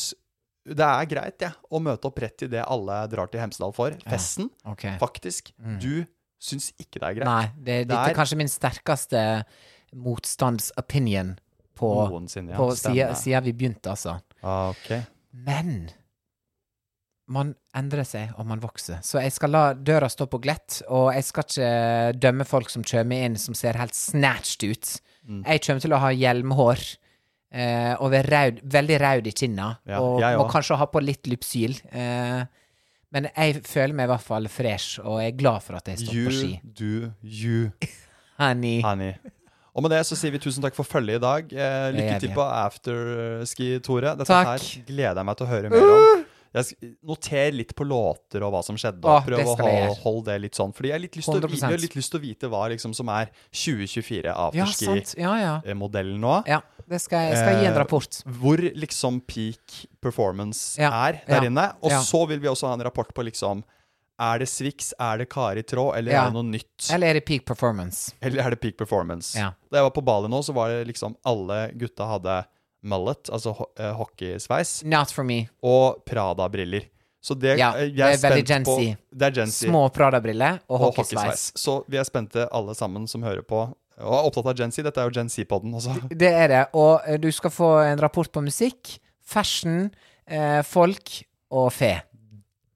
A: det er greit ja, å møte opp rett til det alle drar til Hemsedal for, festen.
B: Ok. Mm.
A: Faktisk. Du syns ikke det er greit.
B: Nei, det,
A: Det
B: dette er
A: er-
B: kanskje min sterkeste motstandsopinion på,
A: Noensinne, ja.
B: på
A: Stemmer.
B: siden, siden vi begynte, altså.
A: Ah, ok.
B: Men man endrer seg, og man vokser. Så jeg skal la døra stå på glett, og jeg skal ikke dømme folk som kommer inn som ser helt snatched ut.
A: Mm.
B: Jeg kommer til å ha hjelmhår. eh, og være raud, veldig raud i kinna.
A: Ja,
B: og
A: jeg
B: må
A: også.
B: kanskje ha på litt lypsyl. eh, men jeg føler meg i hvert fall fresh, og jeg er glad for at jeg står på ski.
A: You do you,
B: Honey.
A: honey. Og med det så sier vi tusen takk for følget i dag. Eh,
B: Det
A: lykke
B: gjør vi.
A: til på afterski, Tore. Dette
B: Takk. Uh!
A: her gleder jeg meg til å høre mer om. Jeg sk- noter litt på låter og hva som skjedde. og
B: Åh,
A: Prøv
B: det
A: å
B: skal jeg
A: hol-
B: gjøre.
A: holde det litt sånn. Fordi jeg har litt lyst til å vi-
B: 100%.
A: vi har litt lyst til å vite hva liksom, som er 2024
B: Ja, sant. Ja, ja.
A: afterski-modellen nå.
B: ja det skal jeg, jeg skal gi en
A: Eh,
B: rapport.
A: Hvor liksom peak performance
B: Ja,
A: er der
B: ja,
A: inne. Og
B: ja.
A: så vil vi også ha en rapport på liksom Er det Swix, er det Kari Tråd, eller er
B: Ja.
A: det noe nytt?
B: Eller er det peak performance?
A: Eller er det peak performance?
B: Ja.
A: Da jeg var på Bali nå, så var det liksom alle gutta hadde mullet, altså ho eh, hockeysveis,
B: Not for me.
A: og Prada-briller. Så det,
B: Ja,
A: eh, jeg
B: det er veldig
A: spent
B: Gen
A: på-
B: Z.
A: Det er Gen Z.
B: Små Prada-briller og
A: og
B: hockeysveis.
A: hockeysveis. Så vi er spente alle sammen som hører på, og er opptatt av Gen Z. Dette er jo Gen Z-podden også.
B: [laughs] Det er det. Og eh, du skal få en rapport på musikk, fashion, eh, folk og fe.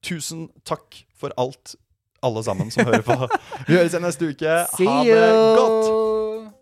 A: Tusen takk for alt, alle sammen som hører
B: [laughs]
A: på. Vi høres igjen neste uke.
B: See
A: ha
B: you!
A: det godt!